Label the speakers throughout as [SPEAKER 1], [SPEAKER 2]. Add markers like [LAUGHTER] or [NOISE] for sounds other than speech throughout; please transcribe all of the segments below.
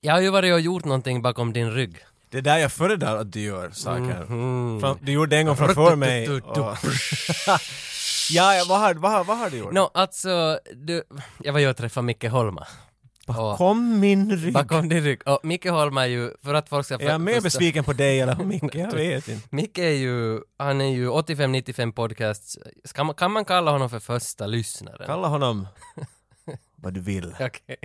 [SPEAKER 1] Jag har ju varit och gjort någonting bakom din rygg.
[SPEAKER 2] Det är där jag föredrar att du gör saker.
[SPEAKER 1] Mm,
[SPEAKER 2] Fram, du gjorde det en gång framför mig. och- [LAUGHS] ja, ja, vad har, vad, har, vad har du gjort?
[SPEAKER 1] Nå, alltså, du, jag var ju och träffade Micke Holma. Och-
[SPEAKER 2] Kom min rygg.
[SPEAKER 1] Bakom din rygg. Och Micke Holma är ju, för att folk ska
[SPEAKER 2] Är jag mer
[SPEAKER 1] förstå-
[SPEAKER 2] besviken på
[SPEAKER 1] [LAUGHS]
[SPEAKER 2] dig eller på Micke? Jag vet inte.
[SPEAKER 1] Micke är ju, han är ju 85-95 podcasts, ska man, kan man kalla honom för första lyssnaren?
[SPEAKER 2] Kalla honom vad du vill.
[SPEAKER 1] [LAUGHS] Okej.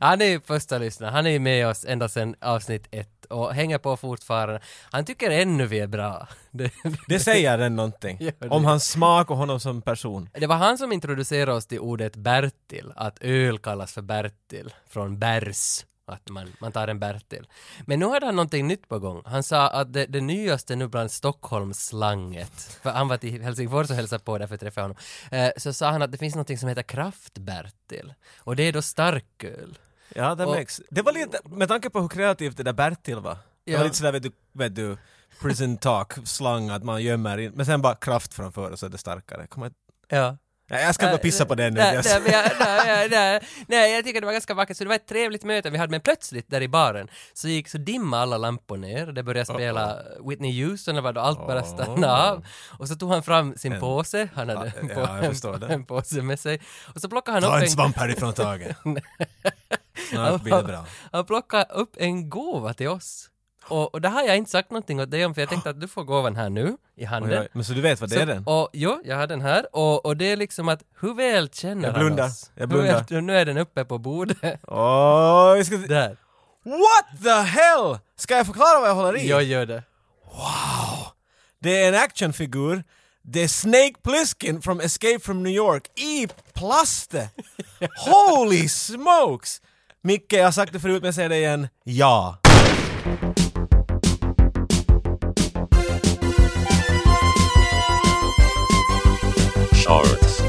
[SPEAKER 1] Han är ju första lyssnaren, han är ju med oss ända sedan avsnitt ett och hänger på fortfarande. Han tycker ännu vi är bra. [LAUGHS] Det,
[SPEAKER 2] Det säger den någonting.
[SPEAKER 1] Ja, det-
[SPEAKER 2] Om hans smak och honom som person.
[SPEAKER 1] det var han som introducerade oss till ordet Bertil, att öl kallas för Bertil, från bärs, att man, man tar en Bertil. Men nu hade han någonting nytt på gång. Han sa att det, det nyaste nu bland Stockholmsslanget, för han var till Helsingfors och hälsade på därför träffade jag honom, eh, så sa han att det finns någonting som heter kraft-Bertil, och det är då starköl.
[SPEAKER 2] Ja, det
[SPEAKER 1] Och-
[SPEAKER 2] makes. Det var lite, med tanke på hur kreativt det där Bertil var. Det
[SPEAKER 1] Ja.
[SPEAKER 2] var lite sådär vet du, vet du prison talk, slang att man gömmer in, men sen bara kraft framför och så är det starkare. Kommer jag-
[SPEAKER 1] Ja.
[SPEAKER 2] Nej, jag ska inte pissa på det nu.
[SPEAKER 1] Äh, Nej,
[SPEAKER 2] Jag-
[SPEAKER 1] nej, men jag, nej, nej, nej, nej, jag tycker det var ganska vackert, så det var ett trevligt möte vi hade, men plötsligt där i baren så gick, så dimma alla lampor ner, det började spela Whitney Houston, och vad då, allt bara stannade av. Och så tog han fram sin påse, han hade
[SPEAKER 2] Ja,
[SPEAKER 1] en,
[SPEAKER 2] ja,
[SPEAKER 1] på,
[SPEAKER 2] jag förstår
[SPEAKER 1] en,
[SPEAKER 2] det.
[SPEAKER 1] en påse med sig, och så plockade han
[SPEAKER 2] Ta
[SPEAKER 1] upp
[SPEAKER 2] en
[SPEAKER 1] en
[SPEAKER 2] svamp härifrån taget. Snart blir det bra.
[SPEAKER 1] han plockade upp en gåva till oss. Och, och det har jag inte sagt någonting åt dig om, för jag tänkte att du får gåvan här nu, i
[SPEAKER 2] Oj,
[SPEAKER 1] handen.
[SPEAKER 2] oj. Men så du vet vad det är den?
[SPEAKER 1] Och, jo, jag har den här. Och, och det är liksom att hur väl känner
[SPEAKER 2] Jag blundar.
[SPEAKER 1] han oss?
[SPEAKER 2] Jag
[SPEAKER 1] Hur väl-
[SPEAKER 2] blundar.
[SPEAKER 1] nu är den uppe på bordet.
[SPEAKER 2] [LAUGHS] Åh, vi ska...
[SPEAKER 1] Där.
[SPEAKER 2] What the hell! Ska jag förklara vad jag håller i?
[SPEAKER 1] Jag gör det.
[SPEAKER 2] Det är en actionfigur. Det är Snake Plissken från Escape from New York i plast! Holy smokes! Micke, jag har sagt det förut men jag säger det igen. Ja.
[SPEAKER 3] Shorts.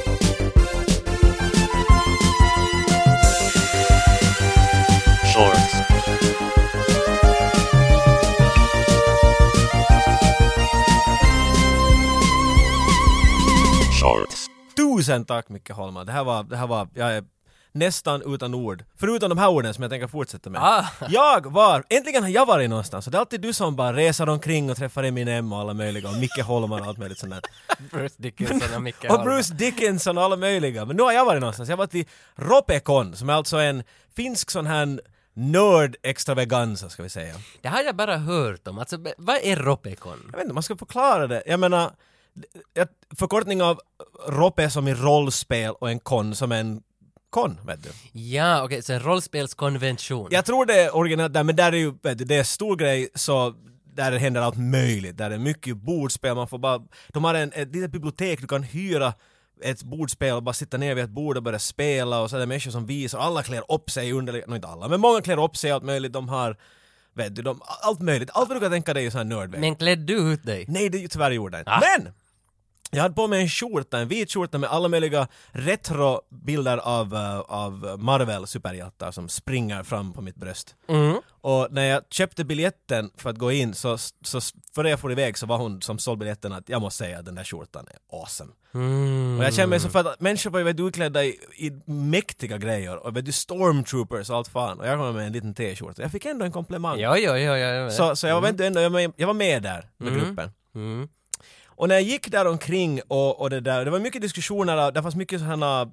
[SPEAKER 3] Shorts. Shorts.
[SPEAKER 2] Tusen tack Micke Holma. Det här var, det här var, jag är nästan utan ord. Förutom de här orden som jag tänker fortsätta med.
[SPEAKER 1] Ah.
[SPEAKER 2] Jag var, äntligen har jag varit någonstans. Och det är alltid du som bara reser omkring och träffar Eminem och alla möjliga och Micke Holma och allt möjligt sånt där.
[SPEAKER 1] Bruce Dickinson och Micke
[SPEAKER 2] [LAUGHS] Och
[SPEAKER 1] Holm.
[SPEAKER 2] Bruce Dickinson och alla möjliga. Men nu har jag varit någonstans. Jag har varit i Ropekon, som är alltså en finsk sån här nörd-extravaganza, ska vi säga.
[SPEAKER 1] Det har jag bara hört om. Alltså, be- vad är Ropecon?
[SPEAKER 2] Jag vet inte, man ska förklara det. Jag menar, jag- förkortning av Rope som i rollspel och en kon som en kon, vet du.
[SPEAKER 1] Ja, okej, så en rollspelskonvention.
[SPEAKER 2] Jag tror det är originellt där, men där är ju, vet du, det är stor grej så där händer allt möjligt. Där är mycket bordspel, man får bara... De har en, ett litet bibliotek, du kan hyra ett bordspel och bara sitta ner vid ett bord och börja spela och så är det människor som visar, alla klär upp sig i underliga, no, inte alla, men många klär upp sig allt möjligt, de har, vet du, de, allt möjligt, allt vad du kan tänka dig i sån här nördväg.
[SPEAKER 1] Men klädde du ut dig?
[SPEAKER 2] Nej, det tyvärr gjorde jag
[SPEAKER 1] Ah.
[SPEAKER 2] inte. Men! Jag hade på mig en skjorta, en vit skjorta med alla möjliga retrobilder av, eh, av Marvel-superhjältar som springer fram på mitt bröst.
[SPEAKER 1] Mm.
[SPEAKER 2] Och när jag köpte biljetten för att gå in så, så före jag for iväg så var hon som sålde biljetten att jag måste säga att den där skjortan är awesome.
[SPEAKER 1] Hmm.
[SPEAKER 2] Och jag känner mig så
[SPEAKER 1] Mm.
[SPEAKER 2] för att människor var ju väldigt utklädda i, i mäktiga grejer och väldigt stormtroopers och allt fan och jag kom med en liten t-skjorta. Jag fick ändå en komplimang.
[SPEAKER 1] Ja, ja, ja, ja. ja.
[SPEAKER 2] Så, så jag, var ändå, ändå, jag, var med, jag var med där med gruppen.
[SPEAKER 1] Mm.
[SPEAKER 2] Och när jag gick där omkring och, och det där, det var mycket diskussioner, det fanns mycket sådana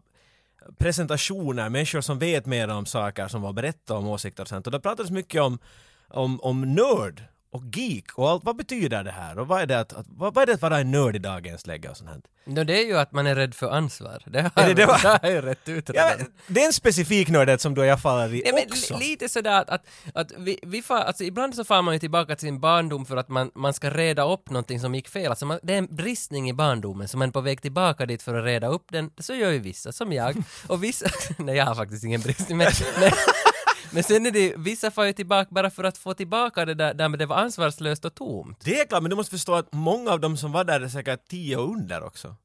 [SPEAKER 2] presentationer, människor som vet mer om saker som var berätta om åsikter och sånt. Och det pratades mycket om, om, om nörd och geek och allt, vad betyder det här? Och vad är det att, att, vad, vad är det att vara en nörd i dagens läge och sånt här?
[SPEAKER 1] Nå, det är ju att man är rädd för ansvar. Det har,
[SPEAKER 2] Är det det va?
[SPEAKER 1] [LAUGHS] det har ju rätt ut
[SPEAKER 2] Ja,
[SPEAKER 1] redan.
[SPEAKER 2] men det är en specifik nördhet som du och jag faller i
[SPEAKER 1] Nej, men
[SPEAKER 2] också.
[SPEAKER 1] li- lite sådär att, att, att vi, vi far, alltså ibland så far man ju tillbaka till sin barndom för att man, man ska reda upp någonting som gick fel. Alltså man, det är en bristning i barndomen, så man är på väg tillbaka dit för att reda upp den. Så gör ju vissa, som jag. Och vissa... [LAUGHS] Nej, jag har faktiskt ingen bristning, men... men Men sen är det, vissa far ju tillbaka bara för att få tillbaka det där, där men det var ansvarslöst och tomt.
[SPEAKER 2] Det är klart, men du måste förstå att många av dem som var där är säkert tio och under också.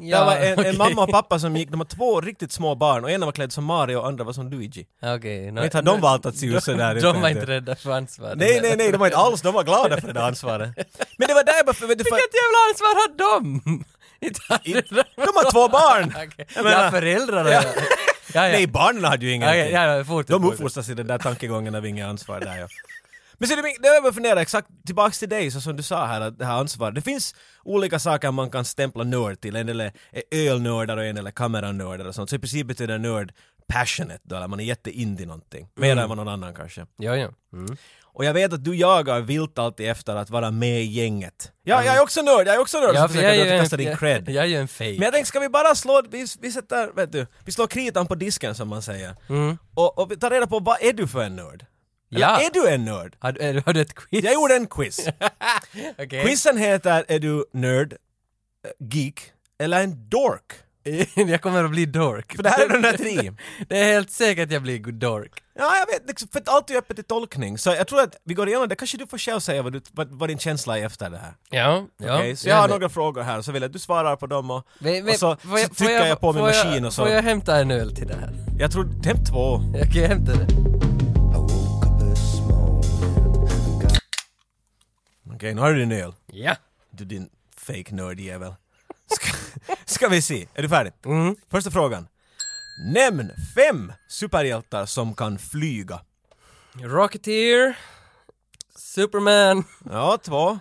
[SPEAKER 1] Ja,
[SPEAKER 2] det var en,
[SPEAKER 1] okej.
[SPEAKER 2] en mamma och pappa som gick, de har två riktigt små barn och ena var klädd som Mario och andra var som Luigi.
[SPEAKER 1] Okej. nå-
[SPEAKER 2] Men inte har de
[SPEAKER 1] nå-
[SPEAKER 2] valt att se ut sådär.
[SPEAKER 1] [LAUGHS] De var inte rädda för ansvar.
[SPEAKER 2] Nej, nej, nej, de var inte alls, de var glada för det där ansvaret. Men det var där jag bara, för, vet du, för,
[SPEAKER 1] Vilket jävla ansvar har de? Inte har
[SPEAKER 2] de har två barn!
[SPEAKER 1] Okej. [LAUGHS]
[SPEAKER 2] Jag menar-
[SPEAKER 1] ja, föräldrar och
[SPEAKER 2] Ja.
[SPEAKER 1] jag. ja.
[SPEAKER 2] Nej, barnen hade ju
[SPEAKER 1] Ja,
[SPEAKER 2] ingenting.
[SPEAKER 1] ja, ja, fort.
[SPEAKER 2] De uppfostras i den där tankegången av inget ansvar där ja. Men så det, det jag bara fundera exakt tillbaks till dig, så som du sa här, att det här ansvaret. Det finns olika saker man kan stämpla nörd till, en del är ölnördar och en del är kameranördar och sånt. Så i princip betyder nörd passionate då, eller man är jättein i någonting. Mer
[SPEAKER 1] Mm.
[SPEAKER 2] än vad någon annan kanske.
[SPEAKER 1] Ja, ja. Mm.
[SPEAKER 2] Och jag vet att du jagar vilt alltid efter att vara med i gänget. Ja, jag är också nörd, jag är också nörd! så
[SPEAKER 1] Ja, för
[SPEAKER 2] försöker
[SPEAKER 1] är
[SPEAKER 2] du
[SPEAKER 1] ju
[SPEAKER 2] att
[SPEAKER 1] en-
[SPEAKER 2] kasta din cred.
[SPEAKER 1] Jag, jag är ju en fake.
[SPEAKER 2] Men jag tänkte, ska vi bara slå, vi, vi sätter, vet du, vi slår kritan på disken som man säger. Och, och vi tar reda på, vad är du för en nörd? Eller
[SPEAKER 1] Ja.
[SPEAKER 2] är du en nörd?
[SPEAKER 1] Har, du- är du- har du ett quiz?
[SPEAKER 2] Jag gjorde en [LAUGHS] quiz.
[SPEAKER 1] Okej.
[SPEAKER 2] Quizen heter, är du nörd, eh, geek eller en dork?
[SPEAKER 1] [LAUGHS] jag kommer att bli dork.
[SPEAKER 2] För det här är de där tre.
[SPEAKER 1] [LAUGHS]
[SPEAKER 2] [LAUGHS]
[SPEAKER 1] Det är helt säkert jag blir dork.
[SPEAKER 2] Ja, jag vet, liksom, för att allt är öppet till tolkning. Så jag tror att vi går igenom det, kanske du får själv säga vad, du, vad, vad din känsla är efter det här.
[SPEAKER 1] Ja, ja.
[SPEAKER 2] Okej, så jag har
[SPEAKER 1] men-
[SPEAKER 2] några frågor här, så vill jag att du svarar på dem och,
[SPEAKER 1] Men- men-
[SPEAKER 2] och så,
[SPEAKER 1] får
[SPEAKER 2] så trycker jag, på min
[SPEAKER 1] får jag-
[SPEAKER 2] maskin och så.
[SPEAKER 1] Får
[SPEAKER 2] Jag,
[SPEAKER 1] jag hämta en öl till det här?
[SPEAKER 2] tror, temp två.
[SPEAKER 1] Jag kan hämta det.
[SPEAKER 2] Okej, nu har du din öl.
[SPEAKER 1] Ja.
[SPEAKER 2] Du din fake nördjävel. Ska, [LAUGHS] ska vi se, är du färdig?
[SPEAKER 1] Mm.
[SPEAKER 2] Första frågan. Nämn fem superhjältar som kan flyga.
[SPEAKER 1] Rocketeer, Superman,
[SPEAKER 2] Ja, två.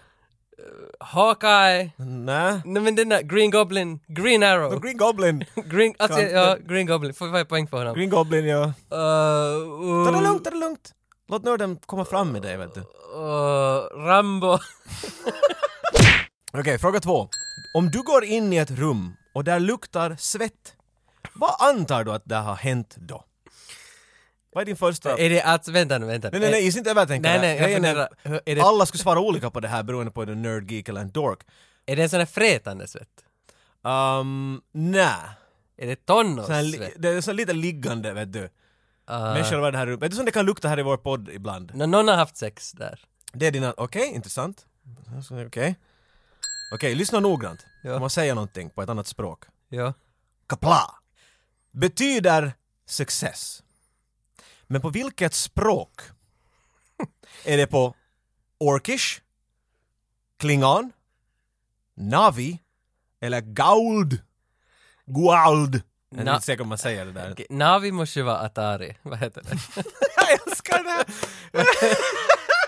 [SPEAKER 1] Hawkeye,
[SPEAKER 2] Nej.
[SPEAKER 1] nej men den där Green Goblin, Green
[SPEAKER 2] Och
[SPEAKER 1] Arrow,
[SPEAKER 2] Green Goblin.
[SPEAKER 1] Green, alltså
[SPEAKER 2] Kan-
[SPEAKER 1] ja, Green Goblin, får jag poäng för honom?
[SPEAKER 2] Green Goblin, ja.
[SPEAKER 1] Uh,
[SPEAKER 2] Ta
[SPEAKER 1] Mm.
[SPEAKER 2] det lugnt, ta det lugnt. Låt nörden komma fram med dig, vet du.
[SPEAKER 1] uh, Rambo,
[SPEAKER 2] Okej, fråga två. Om du går in i ett rum och där luktar svett, vad antar du att det har hänt då? Vad är din första... Eh,
[SPEAKER 1] är det alltså, vänta nu, vänta nu.
[SPEAKER 2] Nej, nej, nej, inte övertänka
[SPEAKER 1] Nej,
[SPEAKER 2] det.
[SPEAKER 1] nej, jag
[SPEAKER 2] Grejen är-
[SPEAKER 1] funderar, hur- är det-
[SPEAKER 2] Alla skulle svara olika på det här beroende på om du är en nerd, geek eller en dork.
[SPEAKER 1] Är det en sån här frätande svett?
[SPEAKER 2] Um, nä.
[SPEAKER 1] Är det
[SPEAKER 2] Sån här li-
[SPEAKER 1] tonårssvett?
[SPEAKER 2] Det är så lite liggande, vet du.
[SPEAKER 1] Uh,
[SPEAKER 2] Men själva det här rummet. Vet du som det kan lukta här i vår podd ibland?
[SPEAKER 1] nå- någon har haft sex där.
[SPEAKER 2] Det är dina... Okej, intressant. Alltså, Okej. Okej, lyssna noggrant.
[SPEAKER 1] Ja.
[SPEAKER 2] Om man säger någonting på ett annat språk.
[SPEAKER 1] Ja.
[SPEAKER 2] Kapla! Betyder success. Men på
[SPEAKER 1] [LAUGHS]
[SPEAKER 2] vilket språk? är det på orkish? Klingon? Navi? Eller gauld? Guald? Jag är
[SPEAKER 1] Na-
[SPEAKER 2] inte säker om man säger det där.
[SPEAKER 1] Okej, Navi måste ju vara Atari, [LAUGHS] vad heter det?
[SPEAKER 2] [LAUGHS] Jag älskar det! här.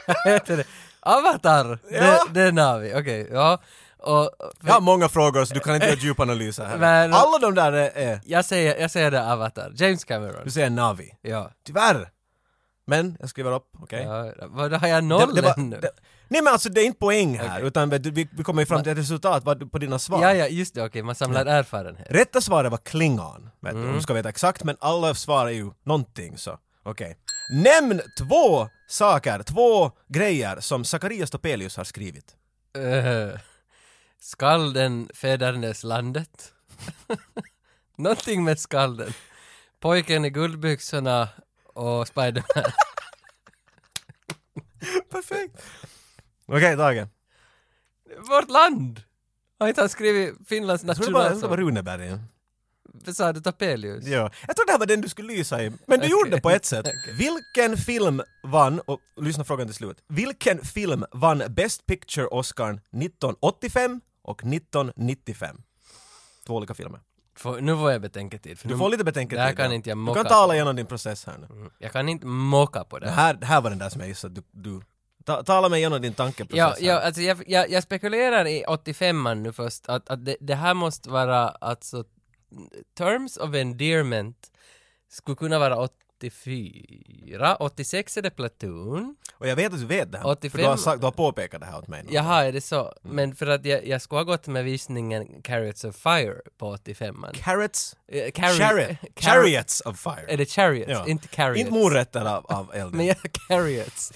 [SPEAKER 1] Vad heter det? Avatar!
[SPEAKER 2] Ja.
[SPEAKER 1] Det, det är Navi, okej, ja. Och,
[SPEAKER 2] Jag har många frågor så du kan inte göra djupanalyser
[SPEAKER 1] [LAUGHS]
[SPEAKER 2] här.
[SPEAKER 1] Men-
[SPEAKER 2] Alla de där är... är-
[SPEAKER 1] jag, säger, jag säger det Avatar, James Cameron.
[SPEAKER 2] Du säger Navi.
[SPEAKER 1] Ja.
[SPEAKER 2] Tyvärr! Men jag skriver upp, okej?
[SPEAKER 1] ja. Vad, då har jag
[SPEAKER 2] Det-
[SPEAKER 1] noll
[SPEAKER 2] det var-
[SPEAKER 1] ännu?
[SPEAKER 2] det- Nej men alltså det är inte poäng här, utan vet du, vi, vi kommer ju fram till ett resultat vad- på dina svar.
[SPEAKER 1] Ja, ja, just det, okej, man samlar erfarenhet.
[SPEAKER 2] Rätta svaret var klingon, vet du, om du ska veta exakt, men alla svar är ju någonting så. Okej. Nämn två saker, två grejer som Zacharias Topelius har skrivit.
[SPEAKER 1] Uh, skalden fädernes landet. [LAUGHS] Någonting med skalden. Pojken i guldbyxorna och Spiderman. [LAUGHS]
[SPEAKER 2] Perfekt! Okej, Tage.
[SPEAKER 1] Vårt land! Har inte han skrivit Finlands
[SPEAKER 2] Jag tror det var, jag tror det
[SPEAKER 1] nationalsång?
[SPEAKER 2] var Runeberg.
[SPEAKER 1] Sa du Topelius?
[SPEAKER 2] Ja. Jag tror det här var den du skulle lysa i, men du gjorde det på ett sätt.
[SPEAKER 1] Okej.
[SPEAKER 2] Vilken film vann, och lyssna frågan till slut, vilken film vann Best Picture-Oscarn 1985 och 1995? Två olika filmer.
[SPEAKER 1] Får, nu får jag betänketid. För
[SPEAKER 2] Du
[SPEAKER 1] nu-
[SPEAKER 2] får lite betänketid.
[SPEAKER 1] Det här kan
[SPEAKER 2] ja.
[SPEAKER 1] inte jag
[SPEAKER 2] Du
[SPEAKER 1] mocka
[SPEAKER 2] kan tala igenom din process här nu.
[SPEAKER 1] Mm. Jag kan inte mocka på det
[SPEAKER 2] Det
[SPEAKER 1] här.
[SPEAKER 2] här, det här var den där som jag gissade att du... du ta, tala mig igenom din
[SPEAKER 1] Ja,
[SPEAKER 2] tankeprocess. här.
[SPEAKER 1] ja, alltså jag, jag, jag spekulerar i 85an nu först, att, att det, det här måste vara alltså Terms of Endearment skulle kunna vara 84, 86 är det Platoon,
[SPEAKER 2] Och jag vet att du vet det här.
[SPEAKER 1] 85
[SPEAKER 2] För du har, sagt, du har påpekat det här åt mig. nu.
[SPEAKER 1] jaha är det så?
[SPEAKER 2] Mm.
[SPEAKER 1] Men för att jag, jag skulle ha gått med visningen Carrots of Fire på 85an.
[SPEAKER 2] Carrots?
[SPEAKER 1] Eh, carri-
[SPEAKER 2] Chariot.
[SPEAKER 1] Carri-
[SPEAKER 2] Chariots of fire.
[SPEAKER 1] Är det Chariots?
[SPEAKER 2] Ja.
[SPEAKER 1] Inte Carrots.
[SPEAKER 2] Inte morötter av, av elden.
[SPEAKER 1] Men jag [LAUGHS] carrots.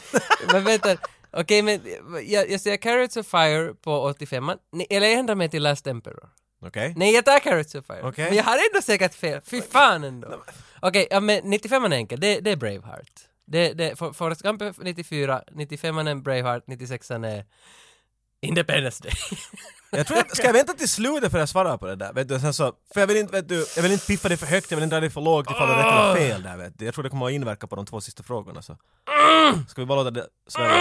[SPEAKER 1] men vänta, okej men jag, jag säger carrots of fire på 85 Nej, eller jag ändrar mig till Last Emperor.
[SPEAKER 2] Okej?
[SPEAKER 1] Nej, jag tar carrots of fire.
[SPEAKER 2] Okej.
[SPEAKER 1] Men jag har ändå säkert fel, fy fan ändå. Okej, ja, men 95 är enkel, det, det är Braveheart. Det, det, For- Forrest Gump är 94, 95 är Braveheart, 96 är eh, Independence Day.
[SPEAKER 2] Jag tror jag, ska jag vänta till slutet för att jag svarar på det där? Vet du, sen så, för jag vill inte, vet du, jag vill inte piffa dig för högt, jag vill inte dra dig för lågt ifall du rätt
[SPEAKER 1] Ah.
[SPEAKER 2] eller fel där vet du. Jag tror det kommer att inverka på de två sista frågorna så. Ska vi bara låta det svära?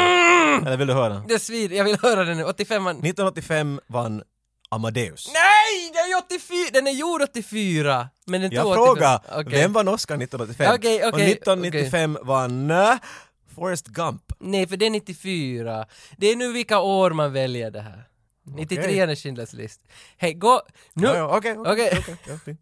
[SPEAKER 2] Eller vill du höra?
[SPEAKER 1] det svider, jag vill höra det nu, 85
[SPEAKER 2] 1985 vann Amadeus.
[SPEAKER 1] Nej, det är 84! Den är gjord 84! Men den
[SPEAKER 2] Jag
[SPEAKER 1] tog 85.
[SPEAKER 2] frågar,
[SPEAKER 1] Okej.
[SPEAKER 2] vem vann Oscar 1985?
[SPEAKER 1] Okej, okej,
[SPEAKER 2] och 1995 vann eh, Forrest Gump.
[SPEAKER 1] Nej, för det är 94. Det är nu vilka år man väljer det här. 93 är Schindler's list. Hej, gå! Nu!
[SPEAKER 2] Ja, ja, Okej, okej,
[SPEAKER 1] Okej.
[SPEAKER 2] okej, ja, fint.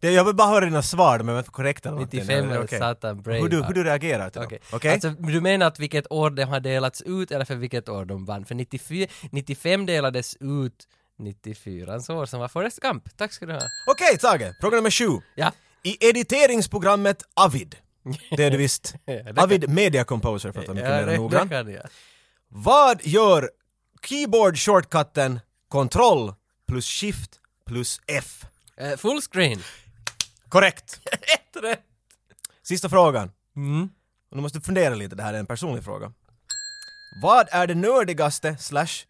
[SPEAKER 2] Det- Jag vill bara höra dina svar, de är inte korrekta. eller någonting.
[SPEAKER 1] 95 är
[SPEAKER 2] Okej.
[SPEAKER 1] satan
[SPEAKER 2] hur du, hur
[SPEAKER 1] Braveheart.
[SPEAKER 2] du reagerar till
[SPEAKER 1] Okej.
[SPEAKER 2] dem. Okej?
[SPEAKER 1] Alltså, du menar att vilket år de har delats ut eller för vilket år de vann? För 94, 95 delades ut 94ans år som var Forrest Gump. Tack ska du ha.
[SPEAKER 2] Okej Tage, fråga nummer sju.
[SPEAKER 1] Ja.
[SPEAKER 2] I editeringsprogrammet
[SPEAKER 1] [LAUGHS]
[SPEAKER 2] Avid, det är du visst,
[SPEAKER 1] det kan-
[SPEAKER 2] Avid Media Composer för att vara mycket
[SPEAKER 1] ja,
[SPEAKER 2] mer
[SPEAKER 1] det, det
[SPEAKER 2] noggrann.
[SPEAKER 1] kan jag.
[SPEAKER 2] Vad gör keyboard shortcutten Ctrl plus Shift plus F?
[SPEAKER 1] Eh, full
[SPEAKER 2] [LAUGHS]
[SPEAKER 1] screen. [LAUGHS]
[SPEAKER 2] Korrekt!
[SPEAKER 1] Ett rätt!
[SPEAKER 2] Sista frågan.
[SPEAKER 1] Mm.
[SPEAKER 2] Och nu måste du fundera lite, det här är en personlig fråga. Vad är det nördigaste slash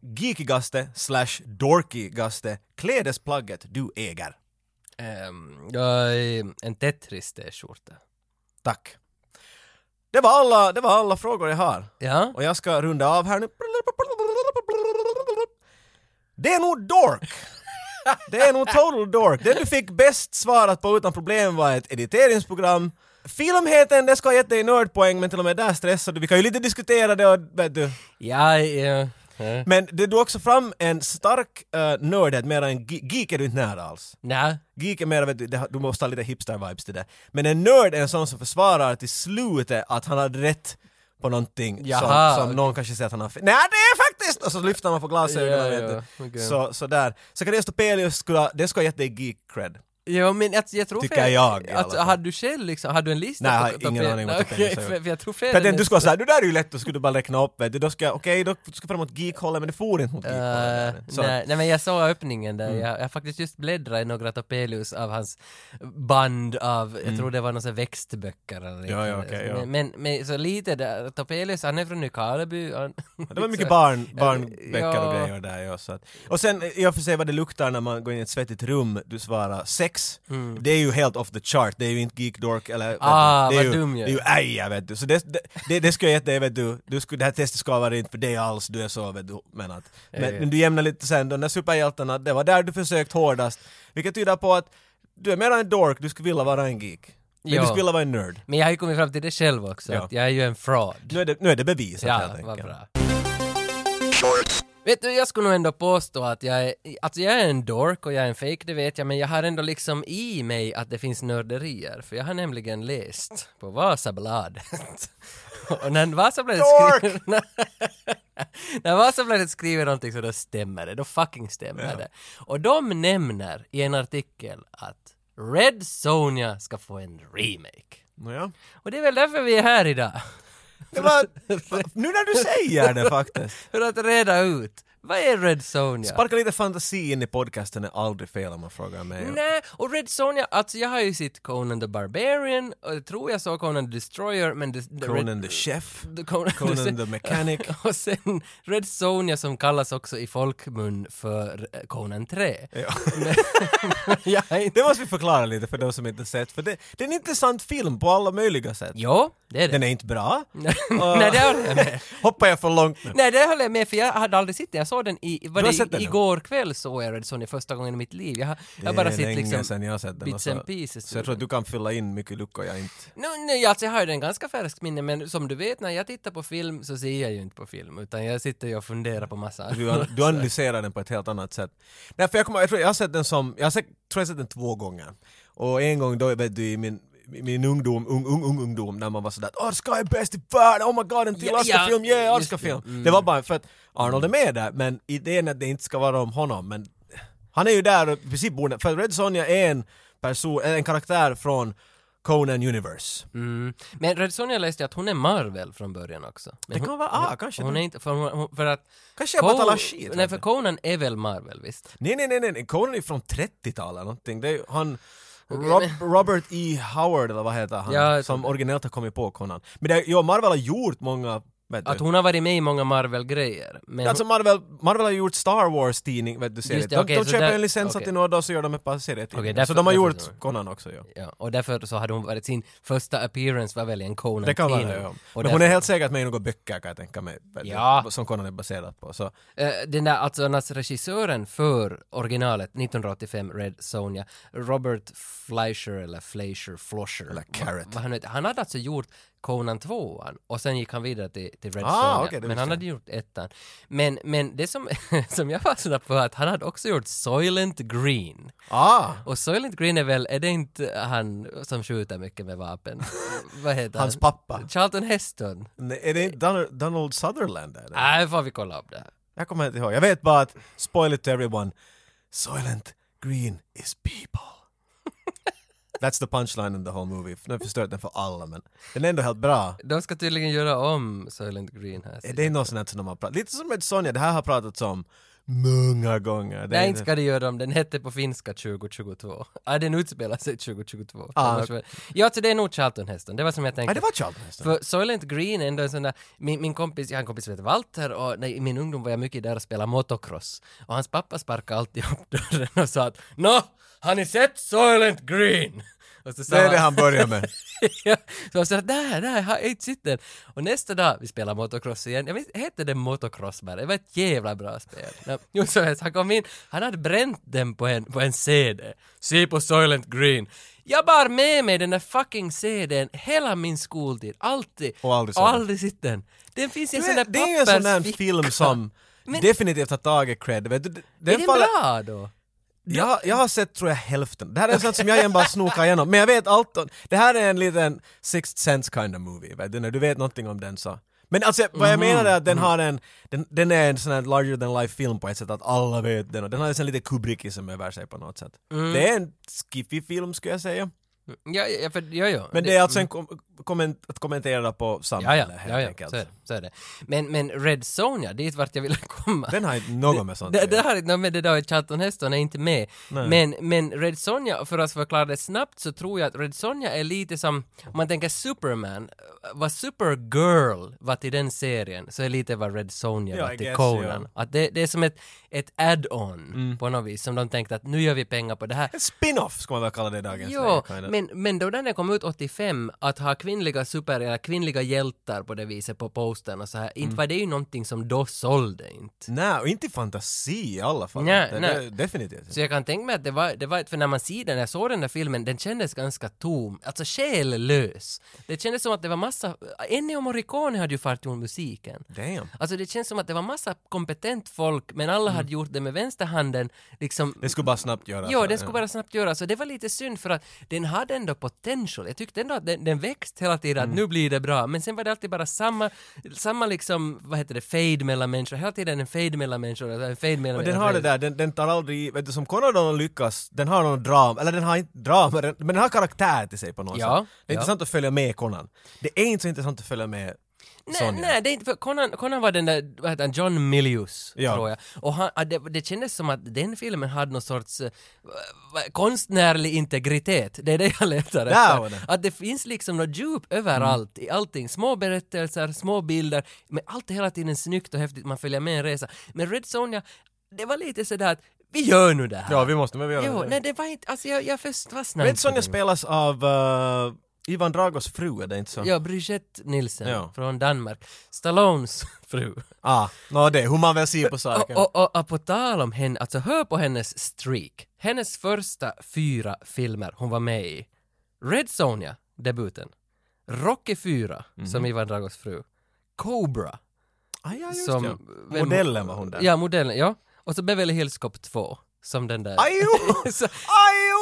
[SPEAKER 2] geekigaste slash dorkigaste klädesplagget du äger?
[SPEAKER 1] Ehm, jag- en Tetris t-skjorta.
[SPEAKER 2] Tack. Det var alla, det var alla frågor jag har.
[SPEAKER 1] Ja,
[SPEAKER 2] Och jag ska runda av här nu. Det är nog dork! Det är nog total dork. Det du fick bäst svarat på utan problem var ett editeringsprogram. Filmheten, det ska ha gett dig nördpoäng men till och med där stressar du. Vi kan ju lite diskutera det och vet du.
[SPEAKER 1] ja, eh, eh.
[SPEAKER 2] Men det du också fram en stark uh, nördhet, mer en ge- geek är du inte nära alls.
[SPEAKER 1] nej.
[SPEAKER 2] Geek är mer, vet du, det har- du måste ha lite hipster-vibes till det. Men en nörd är en sån som försvarar till slutet att han hade rätt på någonting
[SPEAKER 1] Jaha,
[SPEAKER 2] som, som någon kanske säger att han har fel. Nej, det är faktiskt! Och så lyfter man på glasögonen,
[SPEAKER 1] Ja,
[SPEAKER 2] Alltså, vet
[SPEAKER 1] ja,
[SPEAKER 2] du.
[SPEAKER 1] okej.
[SPEAKER 2] Så, så där. Så Cardias Topelius skulle ha- det skulle ha gett dig geek-cred.
[SPEAKER 1] Ja, men jag, jag tror
[SPEAKER 2] Tycker
[SPEAKER 1] fel-
[SPEAKER 2] jag i alla
[SPEAKER 1] Alltså,
[SPEAKER 2] fall.
[SPEAKER 1] hade du själv liksom, hade du en lista?
[SPEAKER 2] Nej, jag
[SPEAKER 1] på-
[SPEAKER 2] har
[SPEAKER 1] på-
[SPEAKER 2] ingen
[SPEAKER 1] på-
[SPEAKER 2] aning
[SPEAKER 1] Nej,
[SPEAKER 2] vad
[SPEAKER 1] Okej,
[SPEAKER 2] Topelius har
[SPEAKER 1] för, för jag tror fel.
[SPEAKER 2] För att
[SPEAKER 1] är
[SPEAKER 2] du skulle ha såhär, det där är ju lätt, då skulle du bara räkna upp vet du. Då ska, jag- okej, då ska fram mot geek-hållet, men det for inte mot
[SPEAKER 1] Eh,
[SPEAKER 2] geek-hållet. Så- Mm.
[SPEAKER 1] nej, nej men jag såg öppningen där, jag, jag har faktiskt just bläddrat i några Topelius av hans band av, jag tror det var några växtböcker eller
[SPEAKER 2] Mm. Ja, ja,
[SPEAKER 1] liknande.
[SPEAKER 2] okej, ja.
[SPEAKER 1] Men, men, men så lite där, Topelius han är från Nykarleby. Han, [LAUGHS]
[SPEAKER 2] Det var mycket
[SPEAKER 1] så-
[SPEAKER 2] barn, barnböcker och
[SPEAKER 1] ja.
[SPEAKER 2] grejer där ja, så att. Och sen, i och för sig vad det luktar när man går in i ett svettigt rum, du svarar sex. Det är ju helt off the chart, det är ju inte geek dork eller... vet
[SPEAKER 1] Mm.
[SPEAKER 2] du.
[SPEAKER 1] Ah,
[SPEAKER 2] det är
[SPEAKER 1] vad
[SPEAKER 2] ju,
[SPEAKER 1] dum
[SPEAKER 2] Det
[SPEAKER 1] jag
[SPEAKER 2] är ju aja vet du. Så det, det, det, det skulle jag gett dig vet du, du skulle, det här testet ska vara inte för dig alls, du är så vet du. Men, att, men,
[SPEAKER 1] ja.
[SPEAKER 2] men du jämnar lite sen, de där superhjältarna, det var där du försökt hårdast. Vilket tyder på att du är mer en dork, du skulle vilja vara en geek. Men
[SPEAKER 1] Ja.
[SPEAKER 2] du skulle vilja vara en nerd.
[SPEAKER 1] Men jag har ju kommit fram till det själv också,
[SPEAKER 2] Ja.
[SPEAKER 1] att jag är ju en fraud.
[SPEAKER 2] Nu är det, nu är det bevisat helt
[SPEAKER 1] Ja,
[SPEAKER 2] enkelt.
[SPEAKER 1] vad bra. Vet du, jag skulle nog ändå påstå att jag är, alltså jag är en dork och jag är en fake, det vet jag, men jag har ändå liksom i mig att det finns nörderier, för jag har nämligen läst på Vasabladet. [LAUGHS] och när Vasabladet skriver... [LAUGHS] när Vasabladet skriver någonting så då stämmer det, då fucking stämmer det. Och de nämner i en artikel att Red Sonja ska få en remake.
[SPEAKER 2] Nåja.
[SPEAKER 1] Och det är väl därför vi är här idag. [LAUGHS]
[SPEAKER 2] Det var, [LAUGHS] nu när du säger det faktiskt.
[SPEAKER 1] För att reda ut, vad är Red Sonja?
[SPEAKER 2] Sparka lite fantasi in i podcasten är aldrig fel om man frågar mig.
[SPEAKER 1] Nej, och Red Sonja, alltså jag har ju sett Conan the Barbarian, och jag tror jag såg Conan the Destroyer, men... The, the
[SPEAKER 2] Conan
[SPEAKER 1] Red,
[SPEAKER 2] the Chef,
[SPEAKER 1] the [LAUGHS] Conan,
[SPEAKER 2] Conan the Mechanic.
[SPEAKER 1] [LAUGHS] Och sen Red Sonja som kallas också i folkmun för eh, Conan 3. [LAUGHS]
[SPEAKER 2] Ja.
[SPEAKER 1] jag har inte...
[SPEAKER 2] Det måste vi förklara lite för de som inte sett, för det, det är en intressant film på alla möjliga sätt.
[SPEAKER 1] Jo, det är det.
[SPEAKER 2] Den är inte bra.
[SPEAKER 1] [LAUGHS] Nej, det håller jag med.
[SPEAKER 2] [LAUGHS] Hoppar jag för långt nu?
[SPEAKER 1] Nej, det håller jag med för jag hade aldrig sett den. Jag såg den i... Var
[SPEAKER 2] Du har
[SPEAKER 1] det,
[SPEAKER 2] sett den nu?
[SPEAKER 1] igår kväll såg jag Red Sonja första gången i mitt liv. Jag har, jag har bara
[SPEAKER 2] det är
[SPEAKER 1] sett
[SPEAKER 2] länge
[SPEAKER 1] liksom...
[SPEAKER 2] sedan jag har sett den.
[SPEAKER 1] bits
[SPEAKER 2] och så-
[SPEAKER 1] and pieces.
[SPEAKER 2] Så jag tror att du kan fylla in mycket luckor jag inte...
[SPEAKER 1] No, nej, alltså jag har ju den ganska färskt minne, men som du vet när jag tittar på film så ser jag ju inte på film, utan jag sitter ju och funderar på massa
[SPEAKER 2] Du, an- du analyserar den på ett helt annat sätt. Nej, för jag, kommer, jag, tror, jag har sett den som, jag har sett, tror jag har sett den två gånger. Och en gång då, vet du, i min i min ungdom, ung, ung, ung ungdom, när man var sådär åh Ska är bäst i världen, oh my god en till
[SPEAKER 1] Ja, ja,
[SPEAKER 2] Oscarfilm, yeah
[SPEAKER 1] just det, Mm.
[SPEAKER 2] Oscarfilm! Det var bara för att Arnold är med där, men idén att det inte ska vara om honom, men han är ju där och i princip borde, för Red Sonja är en person, en karaktär från Conan Universe.
[SPEAKER 1] Mm. Men Red Sonja läste jag att hon är Marvel från början också. Men
[SPEAKER 2] Det kan vara, ah kanske,
[SPEAKER 1] hon, hon är
[SPEAKER 2] du,
[SPEAKER 1] inte, för, hon, för att...
[SPEAKER 2] kanske jag bara
[SPEAKER 1] Con-
[SPEAKER 2] talar skit. vet
[SPEAKER 1] Nej,
[SPEAKER 2] du.
[SPEAKER 1] för Conan är väl Marvel, visst?
[SPEAKER 2] Nej, nej, nej, nej, nej. Conan är från 30-talet eller någonting. Det är, ju- han, Rob, Robert E. Howard eller vad heter han?
[SPEAKER 1] Ja, jag tror
[SPEAKER 2] som
[SPEAKER 1] det.
[SPEAKER 2] originellt har kommit på Conan. Men det, ja, Marvel har gjort många Vet
[SPEAKER 1] Att
[SPEAKER 2] du.
[SPEAKER 1] hon har varit med i många Marvel-grejer. Men
[SPEAKER 2] Alltså Marvel, Marvel har ju gjort Star Wars-tidning, vet du, seriet.
[SPEAKER 1] det,
[SPEAKER 2] de,
[SPEAKER 1] okej,
[SPEAKER 2] de
[SPEAKER 1] så
[SPEAKER 2] köper
[SPEAKER 1] där-
[SPEAKER 2] en licens
[SPEAKER 1] okej.
[SPEAKER 2] till något och så gör de ett par serietidningar.
[SPEAKER 1] Okej, därför-
[SPEAKER 2] så de har
[SPEAKER 1] därför
[SPEAKER 2] gjort
[SPEAKER 1] så är det.
[SPEAKER 2] Conan också, ja.
[SPEAKER 1] Ja, och därför så hade hon varit sin första appearance var väl i en Conan
[SPEAKER 2] Det kan vara
[SPEAKER 1] film.
[SPEAKER 2] det, ja.
[SPEAKER 1] Och
[SPEAKER 2] Men hon är
[SPEAKER 1] därför-
[SPEAKER 2] helt säkert med i några böcker kan jag tänka mig. vet du,
[SPEAKER 1] Ja.
[SPEAKER 2] Som Conan är baserad på. Så.
[SPEAKER 1] Eh, den där alltså alltså, regissören för originalet 1985 Red Sonja, Robert Fleischer eller Fleischer, Flosher. Eller
[SPEAKER 2] Carrot.
[SPEAKER 1] han, heter. han hade alltså gjort Conan 2 och sen gick han vidare till, till Red
[SPEAKER 2] Ah,
[SPEAKER 1] Sonja.
[SPEAKER 2] okej, det
[SPEAKER 1] men
[SPEAKER 2] visste
[SPEAKER 1] han
[SPEAKER 2] jag.
[SPEAKER 1] hade gjort ettan. Men, men det som, [LAUGHS] som jag fastnade på är att han hade också gjort Soylent Green.
[SPEAKER 2] Ah!
[SPEAKER 1] Och Soylent Green är väl, är det inte han som skjuter mycket med vapen? [LAUGHS] Vad heter
[SPEAKER 2] Hans
[SPEAKER 1] han?
[SPEAKER 2] pappa.
[SPEAKER 1] Charlton Heston.
[SPEAKER 2] Nej, Är det inte Don- Donald Sutherland? Eller?
[SPEAKER 1] Nej, får vi kolla upp det.
[SPEAKER 2] Jag kommer inte ihåg. Jag vet bara att, spoil it to everyone, Soylent Green is
[SPEAKER 1] [LAUGHS]
[SPEAKER 2] people. That's the punchline in the whole movie. Nu har jag förstört den för alla men den är ändå helt bra.
[SPEAKER 1] De ska tydligen göra om Soylent Green här.
[SPEAKER 2] Är det är något sånt här som de har pratat Lite som med Sonja, det här har pratats om många gånger. Det är
[SPEAKER 1] Nej, inte ska det göra dem. Den hette på finska 2022. Ja, den utspelar sig 2022.
[SPEAKER 2] Ah,
[SPEAKER 1] Annars väl- Ja, så det är nog Charlton-hästen. Det var som jag tänkte.
[SPEAKER 2] Nej, det var Charlton Heston.
[SPEAKER 1] För Soylent Green är ändå en sån där, min, min kompis, jag har en kompis som heter Walter och när- i min ungdom var jag mycket där och spelade motocross. Och hans pappa sparkade alltid upp dörren och sa att Nå, har ni sett Soylent Green? Och så sa
[SPEAKER 2] Det är det han
[SPEAKER 1] [LAUGHS]
[SPEAKER 2] börjar med.
[SPEAKER 1] ja, så jag sa där, där, jag har inte sett den. Och nästa dag, vi spelar motocross igen, jag minns, hette det motocross bara? Det var ett jävla bra spel. Ja, Jo, så helst, han kom in, han hade bränt den på en, på en CD. Se på Soylent Green. Jag bar med mig den där fucking CDn hela min skoltid, alltid.
[SPEAKER 2] Och aldrig såg
[SPEAKER 1] och
[SPEAKER 2] den.
[SPEAKER 1] aldrig sett den. Den finns i en sån där
[SPEAKER 2] Det är ju en sån där
[SPEAKER 1] pappersficka.
[SPEAKER 2] film som
[SPEAKER 1] [LAUGHS] Men-
[SPEAKER 2] definitivt har tagit cred. Vet du, den
[SPEAKER 1] Är den
[SPEAKER 2] faller-
[SPEAKER 1] bra då?
[SPEAKER 2] Jag, jag har sett tror jag hälften. Det här är sånt som jag igen bara snokar igenom. Men jag vet allt om, Det här är en liten sixth sense kind of movie. Vet du? När du vet någonting om den så. Men alltså vad
[SPEAKER 1] Mm-hmm.
[SPEAKER 2] jag menar är att den har en, den, den är en sån här larger than life film på ett sätt att alla vet den och den har en sån lite Kubrickism över sig på något sätt.
[SPEAKER 1] Mm.
[SPEAKER 2] Det är en skiffig film skulle jag säga.
[SPEAKER 1] Ja, ja, för, ja, ja. mm.
[SPEAKER 2] Men det är alltså en kom, komment, att kommentera på
[SPEAKER 1] Ja,
[SPEAKER 2] samhället
[SPEAKER 1] ja,
[SPEAKER 2] helt
[SPEAKER 1] ja, ja
[SPEAKER 2] enkelt.
[SPEAKER 1] så, är det, så är det. Men, men Red Sonja, dit vart jag ville [LAUGHS] komma.
[SPEAKER 2] Den har inte något med sånt
[SPEAKER 1] Det,
[SPEAKER 2] att
[SPEAKER 1] det
[SPEAKER 2] göra.
[SPEAKER 1] här, no, men det där är Charlton Heston är inte med. Men, men Red Sonja, för att förklara det snabbt så tror jag att Red Sonja är lite som, om man tänker Superman, vad Supergirl var till den serien så är lite vad Red Sonja
[SPEAKER 2] Ja, Mm.
[SPEAKER 1] var
[SPEAKER 2] I
[SPEAKER 1] till
[SPEAKER 2] guess,
[SPEAKER 1] Conan. Att det, det är som ett, ett add-on på något vis som de tänkte att nu gör vi pengar på det här.
[SPEAKER 2] En spin-off ska man väl kalla det i dagens
[SPEAKER 1] Jo,
[SPEAKER 2] läge. kind of.
[SPEAKER 1] men, men då den kom ut 85, att ha kvinnliga super eller kvinnliga hjältar på det viset på posten och så här,
[SPEAKER 2] Mm.
[SPEAKER 1] inte var det ju någonting som då sålde inte.
[SPEAKER 2] Nej, och inte i fantasi i alla fall.
[SPEAKER 1] Nej,
[SPEAKER 2] det,
[SPEAKER 1] nej.
[SPEAKER 2] Det, definitivt inte.
[SPEAKER 1] Så jag kan tänka mig att det var, det var ett, för när man ser den, jag såg den där filmen, den kändes ganska tom, alltså själlös. Det kändes som att det var massa, Ennio Morricone hade ju fart gjort musiken.
[SPEAKER 2] Damn.
[SPEAKER 1] Alltså det känns som att det var massa kompetent folk, men alla
[SPEAKER 2] Mm.
[SPEAKER 1] hade gjort det med vänsterhanden, liksom
[SPEAKER 2] Det skulle bara snabbt göra. alltså,
[SPEAKER 1] Jo, den skulle bara snabbt göra så det var lite synd för att den hade ändå potential. Jag tyckte ändå att den, den växt hela tiden,
[SPEAKER 2] Mm.
[SPEAKER 1] att nu blir det bra. Men sen var det alltid bara samma, samma liksom, vad heter det, fade mellan människor. Hela tiden en fade mellan människor, alltså en fade mellan
[SPEAKER 2] Och den
[SPEAKER 1] mellan
[SPEAKER 2] har det
[SPEAKER 1] fade.
[SPEAKER 2] där, den, den tar aldrig, vet du som Coronadon lyckas, den har någon drama, eller den har inte drama, den- men den har karaktär till sig på något
[SPEAKER 1] Ja,
[SPEAKER 2] sätt. Det är
[SPEAKER 1] ja.
[SPEAKER 2] intressant att följa med Conan. Det är inte så intressant att följa med
[SPEAKER 1] Nej,
[SPEAKER 2] Sonja.
[SPEAKER 1] nej, det är inte, för Conan, Conan var den där, vad heter han, John Milius,
[SPEAKER 2] Ja.
[SPEAKER 1] tror jag. Och han, ah, det, det kändes som att den filmen hade någon sorts eh, va- konstnärlig integritet, det är det jag letar
[SPEAKER 2] var
[SPEAKER 1] efter.
[SPEAKER 2] det.
[SPEAKER 1] Att det finns liksom något djup överallt i allting, små berättelser, små bilder, men allt är hela tiden snyggt och häftigt, man följer med en resa. Men Red Sonja, det var lite sådär att vi gör nu det här.
[SPEAKER 2] Ja, vi måste, men vi gör
[SPEAKER 1] Jo,
[SPEAKER 2] det.
[SPEAKER 1] nej det var inte, alltså jag, jag först fastnade
[SPEAKER 2] Red
[SPEAKER 1] inte på
[SPEAKER 2] Sonja
[SPEAKER 1] den.
[SPEAKER 2] spelas av eh, Ivan Dragos fru, är det inte så?
[SPEAKER 1] Ja, Brigitte Nielsen
[SPEAKER 2] Ja.
[SPEAKER 1] från Danmark. Stallones fru.
[SPEAKER 2] Ah, nå det, hur man väl
[SPEAKER 1] [LAUGHS]
[SPEAKER 2] ser på
[SPEAKER 1] Och,
[SPEAKER 2] saken.
[SPEAKER 1] och, och, och på tal om henne, alltså hör på hennes streak. Hennes första fyra filmer hon var med i. Red Sonja, debuten. Rocky 4,
[SPEAKER 2] Mhm.
[SPEAKER 1] som Ivan Dragos fru. Cobra,
[SPEAKER 2] ah, ja, just
[SPEAKER 1] som...
[SPEAKER 2] ja.
[SPEAKER 1] vem-
[SPEAKER 2] Modellen var hon där.
[SPEAKER 1] Ja, modellen, ja. Och så Beverly Hills Cop 2, som den där.
[SPEAKER 2] Aj,
[SPEAKER 1] [LAUGHS]
[SPEAKER 2] jo!
[SPEAKER 1] så,
[SPEAKER 2] Aj,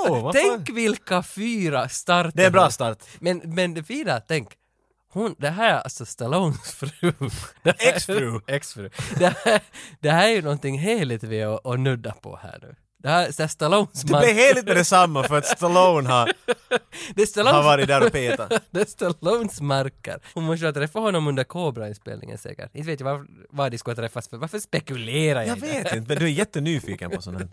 [SPEAKER 2] jo! vad fan.
[SPEAKER 1] tänk vilka fyra starter
[SPEAKER 2] Det är en bra
[SPEAKER 1] hon-
[SPEAKER 2] start.
[SPEAKER 1] Men, men det fina, tänk. Hon, det här är alltså Stallones fru. [LAUGHS] Det här-
[SPEAKER 2] Ex-fru.
[SPEAKER 1] Ex-fru. Det här, det här är ju någonting heligt vi har att nudda på här nu. Det här det är Stallones
[SPEAKER 2] Det
[SPEAKER 1] man.
[SPEAKER 2] blir heligt med detsamma för att Stallone har,
[SPEAKER 1] Det är
[SPEAKER 2] har
[SPEAKER 1] Stallones,
[SPEAKER 2] varit där och petat.
[SPEAKER 1] [LAUGHS] det är Stallones marker. Hon måste ha träffat honom under Cobra-inspelningen säkert. Inte vet jag var, vad de skulle träffas för. Varför spekulerar jag,
[SPEAKER 2] [LAUGHS] Jag
[SPEAKER 1] i det?
[SPEAKER 2] vet inte, men du är jättenyfiken på sån här.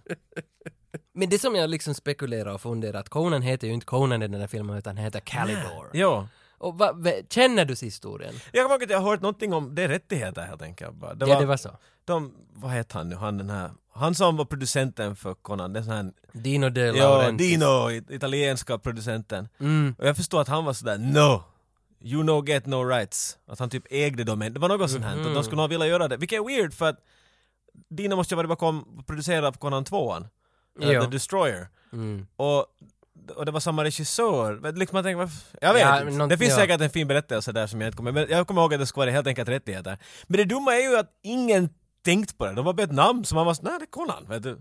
[SPEAKER 1] Men det som jag liksom spekulerar och funderar att Conan heter ju inte Conan i den här filmen utan han heter Calidor.
[SPEAKER 2] [LAUGHS] Ja.
[SPEAKER 1] Och va, va, känner du historien?
[SPEAKER 2] Jag kommer ihåg att jag har hört någonting om det är rättigheter helt enkelt. bara. Det
[SPEAKER 1] ja, det var så.
[SPEAKER 2] de, vad heter han nu, han den här, han som var producenten för Conan, den här,
[SPEAKER 1] Dino De
[SPEAKER 2] ja,
[SPEAKER 1] Laurentiis.
[SPEAKER 2] Dino, it- italienska producenten.
[SPEAKER 1] Mm.
[SPEAKER 2] Och jag förstår att han var sådär no, you no get no rights. Att han typ ägde dem, men det var något sånt här.
[SPEAKER 1] Mm.
[SPEAKER 2] Och de skulle nog vilja göra det, vilket är weird för att Dino måste ju vara bakom, producerad av Conan 2
[SPEAKER 1] Ja.
[SPEAKER 2] The Destroyer.
[SPEAKER 1] Mm.
[SPEAKER 2] Och, och det var samma regissör. Men Liksom jag, tänker, varför- jag vet
[SPEAKER 1] Ja,
[SPEAKER 2] inte.
[SPEAKER 1] någon-
[SPEAKER 2] Det finns
[SPEAKER 1] ja.
[SPEAKER 2] säkert en fin berättelse där som jag inte kommer Men jag kommer ihåg att det skulle vara helt enkelt rättigheter. Men det dumma är ju att ingen tänkt på det. De var bara ett namn som man var så, nej det är Conan, vet du.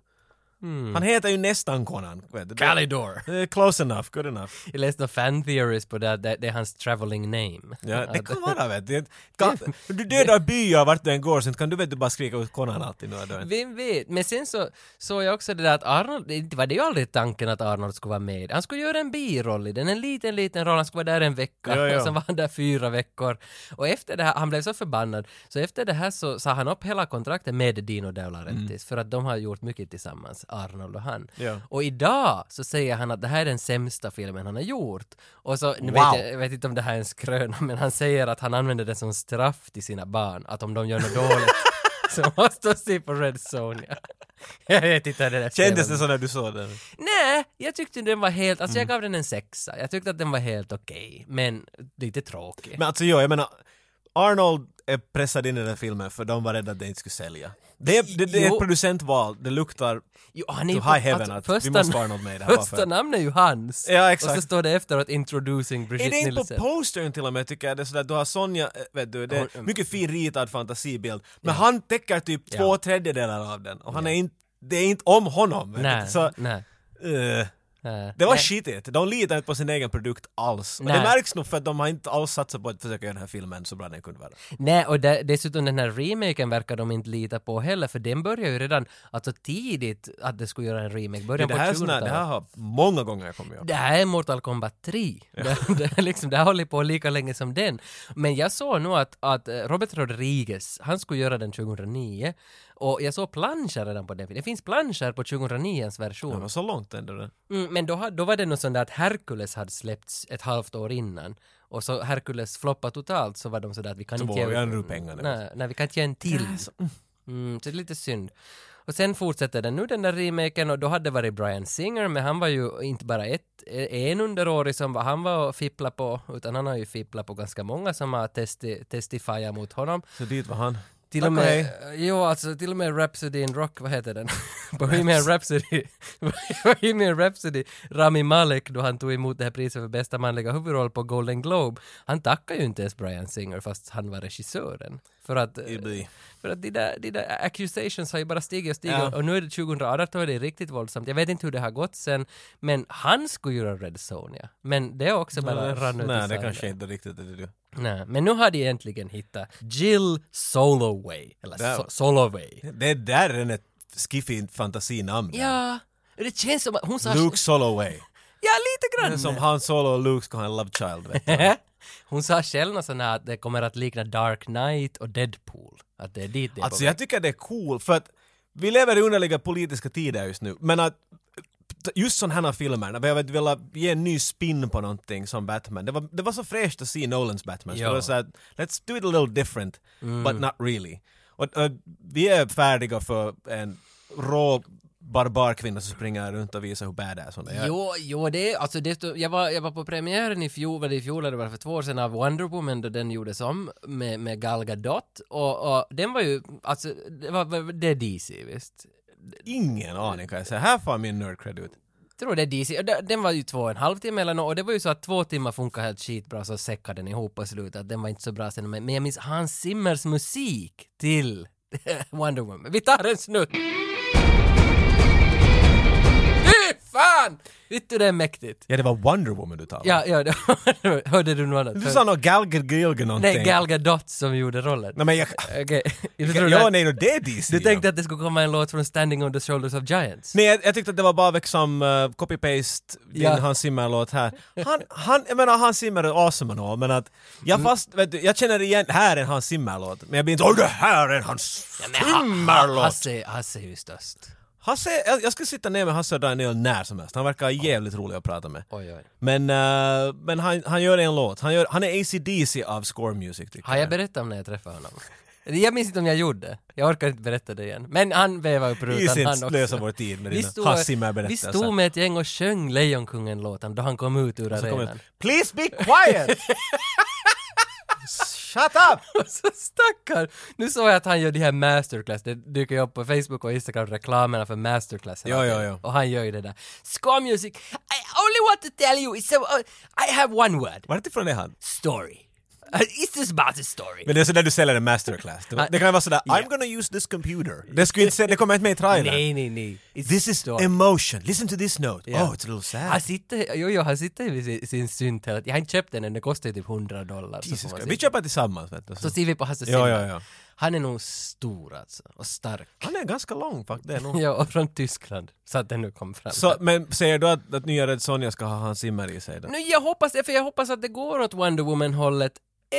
[SPEAKER 1] Mm.
[SPEAKER 2] Han heter ju nästan Conan. Vet du.
[SPEAKER 1] Calidor!
[SPEAKER 2] Det är Close enough, good enough.
[SPEAKER 1] [LAUGHS] Jag läste några fan theories på det, att det, det är hans traveling name.
[SPEAKER 2] Ja, det kan vara vet du. Kan, du dödar byar vart du än går, sen kan du vet du bara skrika ut Conan alltid nu. Då.
[SPEAKER 1] Vem vet? Men sen så såg jag också det där att Arnold, det var det ju aldrig tanken att Arnold skulle vara med. Han skulle göra en biroll i den, en liten, liten roll. Han skulle vara där en vecka
[SPEAKER 2] Ja, ja.
[SPEAKER 1] och sen var han där fyra veckor. Och efter det här, han blev så förbannad, så efter det här så sa han upp hela kontraktet med Dino De Laurentiis för att de har gjort mycket tillsammans, Arnold och han.
[SPEAKER 2] Mm. Ja.
[SPEAKER 1] Och idag så säger han att det här är den sämsta filmen han har gjort. Och så, nu
[SPEAKER 2] Wow.
[SPEAKER 1] vet jag, jag vet inte om det här är en skröna, men han säger att han använder det som straff till sina barn, att om de gör något dåligt
[SPEAKER 2] [LAUGHS]
[SPEAKER 1] så måste de se på Red Sonja. [LAUGHS] jag vet inte hur det där
[SPEAKER 2] Kändes det
[SPEAKER 1] spelar.
[SPEAKER 2] så Mm. när du såg den?
[SPEAKER 1] Nej, jag tyckte den var helt, alltså jag gav den en sexa. Jag tyckte att den var helt okej, men lite tråkig.
[SPEAKER 2] Men alltså ja, jag menar Arnold är pressad in i den här filmen för de var rädda att det inte skulle sälja. Det är, det, det är
[SPEAKER 1] Jo.
[SPEAKER 2] ett producentval, det luktar...
[SPEAKER 1] Jo, han är
[SPEAKER 2] To
[SPEAKER 1] ju- alltså,
[SPEAKER 2] high heaven att vi
[SPEAKER 1] första
[SPEAKER 2] måste
[SPEAKER 1] na-
[SPEAKER 2] vara något med i det
[SPEAKER 1] [LAUGHS]
[SPEAKER 2] här, bara
[SPEAKER 1] Första
[SPEAKER 2] för-
[SPEAKER 1] namnet är ju hans.
[SPEAKER 2] Ja, exakt.
[SPEAKER 1] Och så står det efteråt introducing
[SPEAKER 2] Är
[SPEAKER 1] Brigitte
[SPEAKER 2] det inte
[SPEAKER 1] Nielsen.
[SPEAKER 2] på postern till och med tycker jag det är sådär, du har Sonja, äh, vet du, det är
[SPEAKER 1] Hon-
[SPEAKER 2] mycket fin ritad fantasibild, men han täcker typ
[SPEAKER 1] Ja.
[SPEAKER 2] två tredjedelar av den och han är inte, det är inte om honom. vet du.
[SPEAKER 1] Nej,
[SPEAKER 2] Så,
[SPEAKER 1] nej.
[SPEAKER 2] eh,
[SPEAKER 1] nej.
[SPEAKER 2] det var
[SPEAKER 1] Nej.
[SPEAKER 2] skitigt, de litar inte på sin egen produkt alls. Och
[SPEAKER 1] Nej.
[SPEAKER 2] det märks nog för att de har inte alls satsat på att försöka göra den här filmen så bra den kunde vara.
[SPEAKER 1] Nej, och där, dessutom den här remaken verkar de inte lita på heller, för den börjar ju redan alltså tidigt att det skulle göra en remake,
[SPEAKER 2] Men
[SPEAKER 1] början
[SPEAKER 2] det,
[SPEAKER 1] på
[SPEAKER 2] här är
[SPEAKER 1] 2000
[SPEAKER 2] såna, det här har många gånger kommit upp.
[SPEAKER 1] det här är Mortal Kombat 3. Det, [LAUGHS] det, är liksom, det här håller på lika länge som den. Men jag såg nog att, att eh, Robert Rodriguez, han skulle göra den 2009. Och jag såg planscher redan på den filmen. Det finns planscher på 2009s
[SPEAKER 2] Det
[SPEAKER 1] version.
[SPEAKER 2] var så långt ändå. det.
[SPEAKER 1] Mm, men då, ha- då var det något sånt där att Hercules hade släppts ett halvt år innan. Och så Hercules floppade totalt så var de sådär att vi kan
[SPEAKER 2] Så
[SPEAKER 1] inte
[SPEAKER 2] vågar
[SPEAKER 1] ge...
[SPEAKER 2] han ro pengarna.
[SPEAKER 1] Nej, nej, vi kan inte ge en till. Mm, så det är lite synd. Och sen fortsätter den nu den där remaken och då hade det varit Brian Singer men han var ju inte bara ett, en underårig som var- han var och fippla på utan han har ju fipplat på ganska många som har testi, testifierat mot honom.
[SPEAKER 2] Så dit var han.
[SPEAKER 1] Till
[SPEAKER 2] Tack
[SPEAKER 1] och
[SPEAKER 2] och
[SPEAKER 1] med, jo alltså till och med Rhapsody in Rock, vad heter den? [LAUGHS] Bohemian Rhapsody, [LAUGHS] Bohemian Rhapsody, Rami Malek då han tog emot det här priset för bästa manliga huvudroll på Golden Globe, han tackar ju inte ens Brian Singer fast han var regissören. För att, eh,
[SPEAKER 2] Det blir-
[SPEAKER 1] för att de där, de där accusations har ju bara stigit och stigit
[SPEAKER 2] Ja.
[SPEAKER 1] och nu är det 2018 och det är riktigt våldsamt. Jag vet inte hur det har gått sen, men han skulle göra Red Sonja. Men det är också bara rann ut i
[SPEAKER 2] Nej, det
[SPEAKER 1] sanden.
[SPEAKER 2] kanske inte riktigt är det du.
[SPEAKER 1] Nej, men nu har de äntligen hittat Jill Soloway. Eller
[SPEAKER 2] Där.
[SPEAKER 1] so- Soloway.
[SPEAKER 2] Det är där den är skiffigt fantasinamn.
[SPEAKER 1] Ja, det känns som att hon sa...
[SPEAKER 2] Luke Soloway.
[SPEAKER 1] Ja, lite
[SPEAKER 2] Det är
[SPEAKER 1] grann!
[SPEAKER 2] som Han Solo och Luke ska ha en love child. Vet du.
[SPEAKER 1] hon sa själv något sånt här att det kommer att likna Dark Knight och Deadpool. Att det är dit typ det är
[SPEAKER 2] Alltså
[SPEAKER 1] på
[SPEAKER 2] jag tycker det är cool för att vi lever i underliga politiska tider just nu. Men att just sådana här filmer, när vi har velat ge en ny spin på någonting som Batman. Det var, det var så fräscht att se Nolans Batman. Så
[SPEAKER 1] Ja. Mm.
[SPEAKER 2] det var så här, let's do it a little different, but not really. Och, och, vi är färdiga för en rå barbarkvinna som springer runt och visar hur badass hon är.
[SPEAKER 1] Jo, jo, det är, alltså det, jag, var, jag var på premiären i fjol, var det i fjol eller var det för två år sedan av Wonder Woman då den gjordes om med, med Gal Gadot och, och den var ju, alltså det, var, det är DC visst.
[SPEAKER 2] Ingen aning kan jag säga. Här får min nerd cred ut.
[SPEAKER 1] tror det är DC. Och de- Den var ju två och en halv timme eller nå och det var ju så att två timmar funkar helt skitbra så säckade den ihop på slutet. Att Den var inte så bra sen men men jag minns Hans Zimmers musik till [LAUGHS] Wonder Woman. Vi tar en snutt! Fy fan! Vet du det är mäktigt?
[SPEAKER 2] Ja, det var Wonder Woman du talade om.
[SPEAKER 1] Ja, ja, det- [LAUGHS] hörde du något annat?
[SPEAKER 2] Du sa något Gal Gadot någonting.
[SPEAKER 1] Nej, Gal Gadot som gjorde rollen.
[SPEAKER 2] Nej men jag...
[SPEAKER 1] Okej. [LAUGHS] Du trodde
[SPEAKER 2] Ja,
[SPEAKER 1] att-
[SPEAKER 2] nej, no, det är DC.
[SPEAKER 1] Du tänkte att det skulle komma en låt från Standing on the Shoulders of Giants?
[SPEAKER 2] Nej, jag, jag tyckte att det var bara liksom eh, copy-paste din
[SPEAKER 1] Ja.
[SPEAKER 2] Hans Zimmer-låt här. Han, han, jag menar Hans Zimmer är awesome och all, men att jag fast, vet du, jag känner igen, här är en Hans Zimmer-låt, men jag blir inte åh det här är en Hans
[SPEAKER 1] Men ha- ha-
[SPEAKER 2] Zimmer-låt!
[SPEAKER 1] Hasse, Hasse är ju störst.
[SPEAKER 2] Hasse, jag, jag skulle sitta ner med Hasse och Daniel när som helst. Han verkar jävligt rolig att prata med.
[SPEAKER 1] Oj, oj.
[SPEAKER 2] Men, eh, men han, han gör en låt. Han, gör, han är ACDC av score music tycker
[SPEAKER 1] Har jag berättat om när jag träffade honom? Eller Jag minns inte om jag gjorde. Jag orkar inte berätta det igen. Men han vevade upp
[SPEAKER 2] Vi ska
[SPEAKER 1] rutan han
[SPEAKER 2] inte slösa
[SPEAKER 1] också.
[SPEAKER 2] vår tid med
[SPEAKER 1] Vi
[SPEAKER 2] dina
[SPEAKER 1] stod, vi
[SPEAKER 2] Hassimar-berättelser.
[SPEAKER 1] stod med ett gäng och sjöng Lejonkungen-låten då han kom ut ur
[SPEAKER 2] Så kommer det,
[SPEAKER 1] arenan.
[SPEAKER 2] Please be quiet! Shut up!
[SPEAKER 1] Och [LAUGHS] så stackar! Nu såg jag att han gör de här masterclass, det dyker ju upp på Facebook och Instagram, reklamerna för masterclass. hela
[SPEAKER 2] Ja,
[SPEAKER 1] tiden.
[SPEAKER 2] ja, ja.
[SPEAKER 1] Och han gör ju det där. Ska music, I only want to tell you, it's a, uh, I have one word,
[SPEAKER 2] Vartifrån är han?
[SPEAKER 1] story. Uh, It's just about a story.
[SPEAKER 2] Men det är sådär du säljer en masterclass. Det, det kan vara sådär
[SPEAKER 1] Ja.
[SPEAKER 2] I'm gonna use this computer. Ah, Det, skulle inte, se- det kommer inte med i trailern.
[SPEAKER 1] nej, nej, nej. It's
[SPEAKER 2] This is
[SPEAKER 1] story.
[SPEAKER 2] emotion. Listen to this note.
[SPEAKER 1] Ja.
[SPEAKER 2] Oh, it's a little sad.
[SPEAKER 1] Han sitter, jo, jo, han sitter vid sin, sin synt hela tiden. Jag har inte köpt den än, den kostar ju typ 100 dollar. så får
[SPEAKER 2] Jesus
[SPEAKER 1] man
[SPEAKER 2] Christ.
[SPEAKER 1] se.
[SPEAKER 2] Vi köper tillsammans vet du.
[SPEAKER 1] Så ser vi på Hasse
[SPEAKER 2] Ja,
[SPEAKER 1] Simon.
[SPEAKER 2] ja, ja.
[SPEAKER 1] Han är nog stor alltså, och stark. [LAUGHS]
[SPEAKER 2] Han är ganska lång faktiskt. det är [LAUGHS] nog.
[SPEAKER 1] Ja, och från Tyskland. Så att den nu kom fram.
[SPEAKER 2] Så, men säger du att, att nya Red Sonja ska ha hans Zimmer i sig då?
[SPEAKER 1] Nu, jag hoppas det, för jag hoppas att det går åt Wonder Woman-hållet.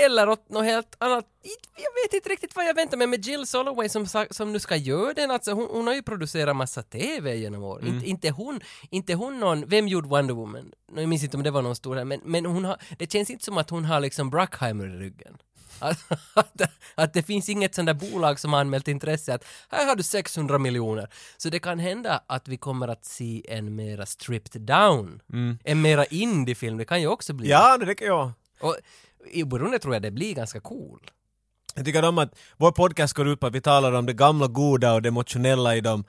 [SPEAKER 1] Eller åt något helt annat. Inte- Jag vet inte riktigt vad jag väntar mig med Jill Soloway som, sa- som nu ska göra den. Alltså, hon, hon har ju producerat massa TV genom åren. Inte, inte, hon, inte hon någon... Vem gjorde Wonder Woman? Nu, Jag minns inte om det var någon stor här, men, men hon har, det känns inte som att hon har liksom Bruckheimer i ryggen. Att, [LAUGHS] att, att det finns inget sånt där bolag som har anmält intresse att här har du 600 miljoner. Så det kan hända att vi kommer att se en mera stripped down, en mera indie-film, det kan ju också bli.
[SPEAKER 2] Ja, det räcker jag.
[SPEAKER 1] Och i oberoende tror jag det blir ganska cool.
[SPEAKER 2] Jag tycker om att vår podcast går ut på att vi talar om det gamla goda och det emotionella i de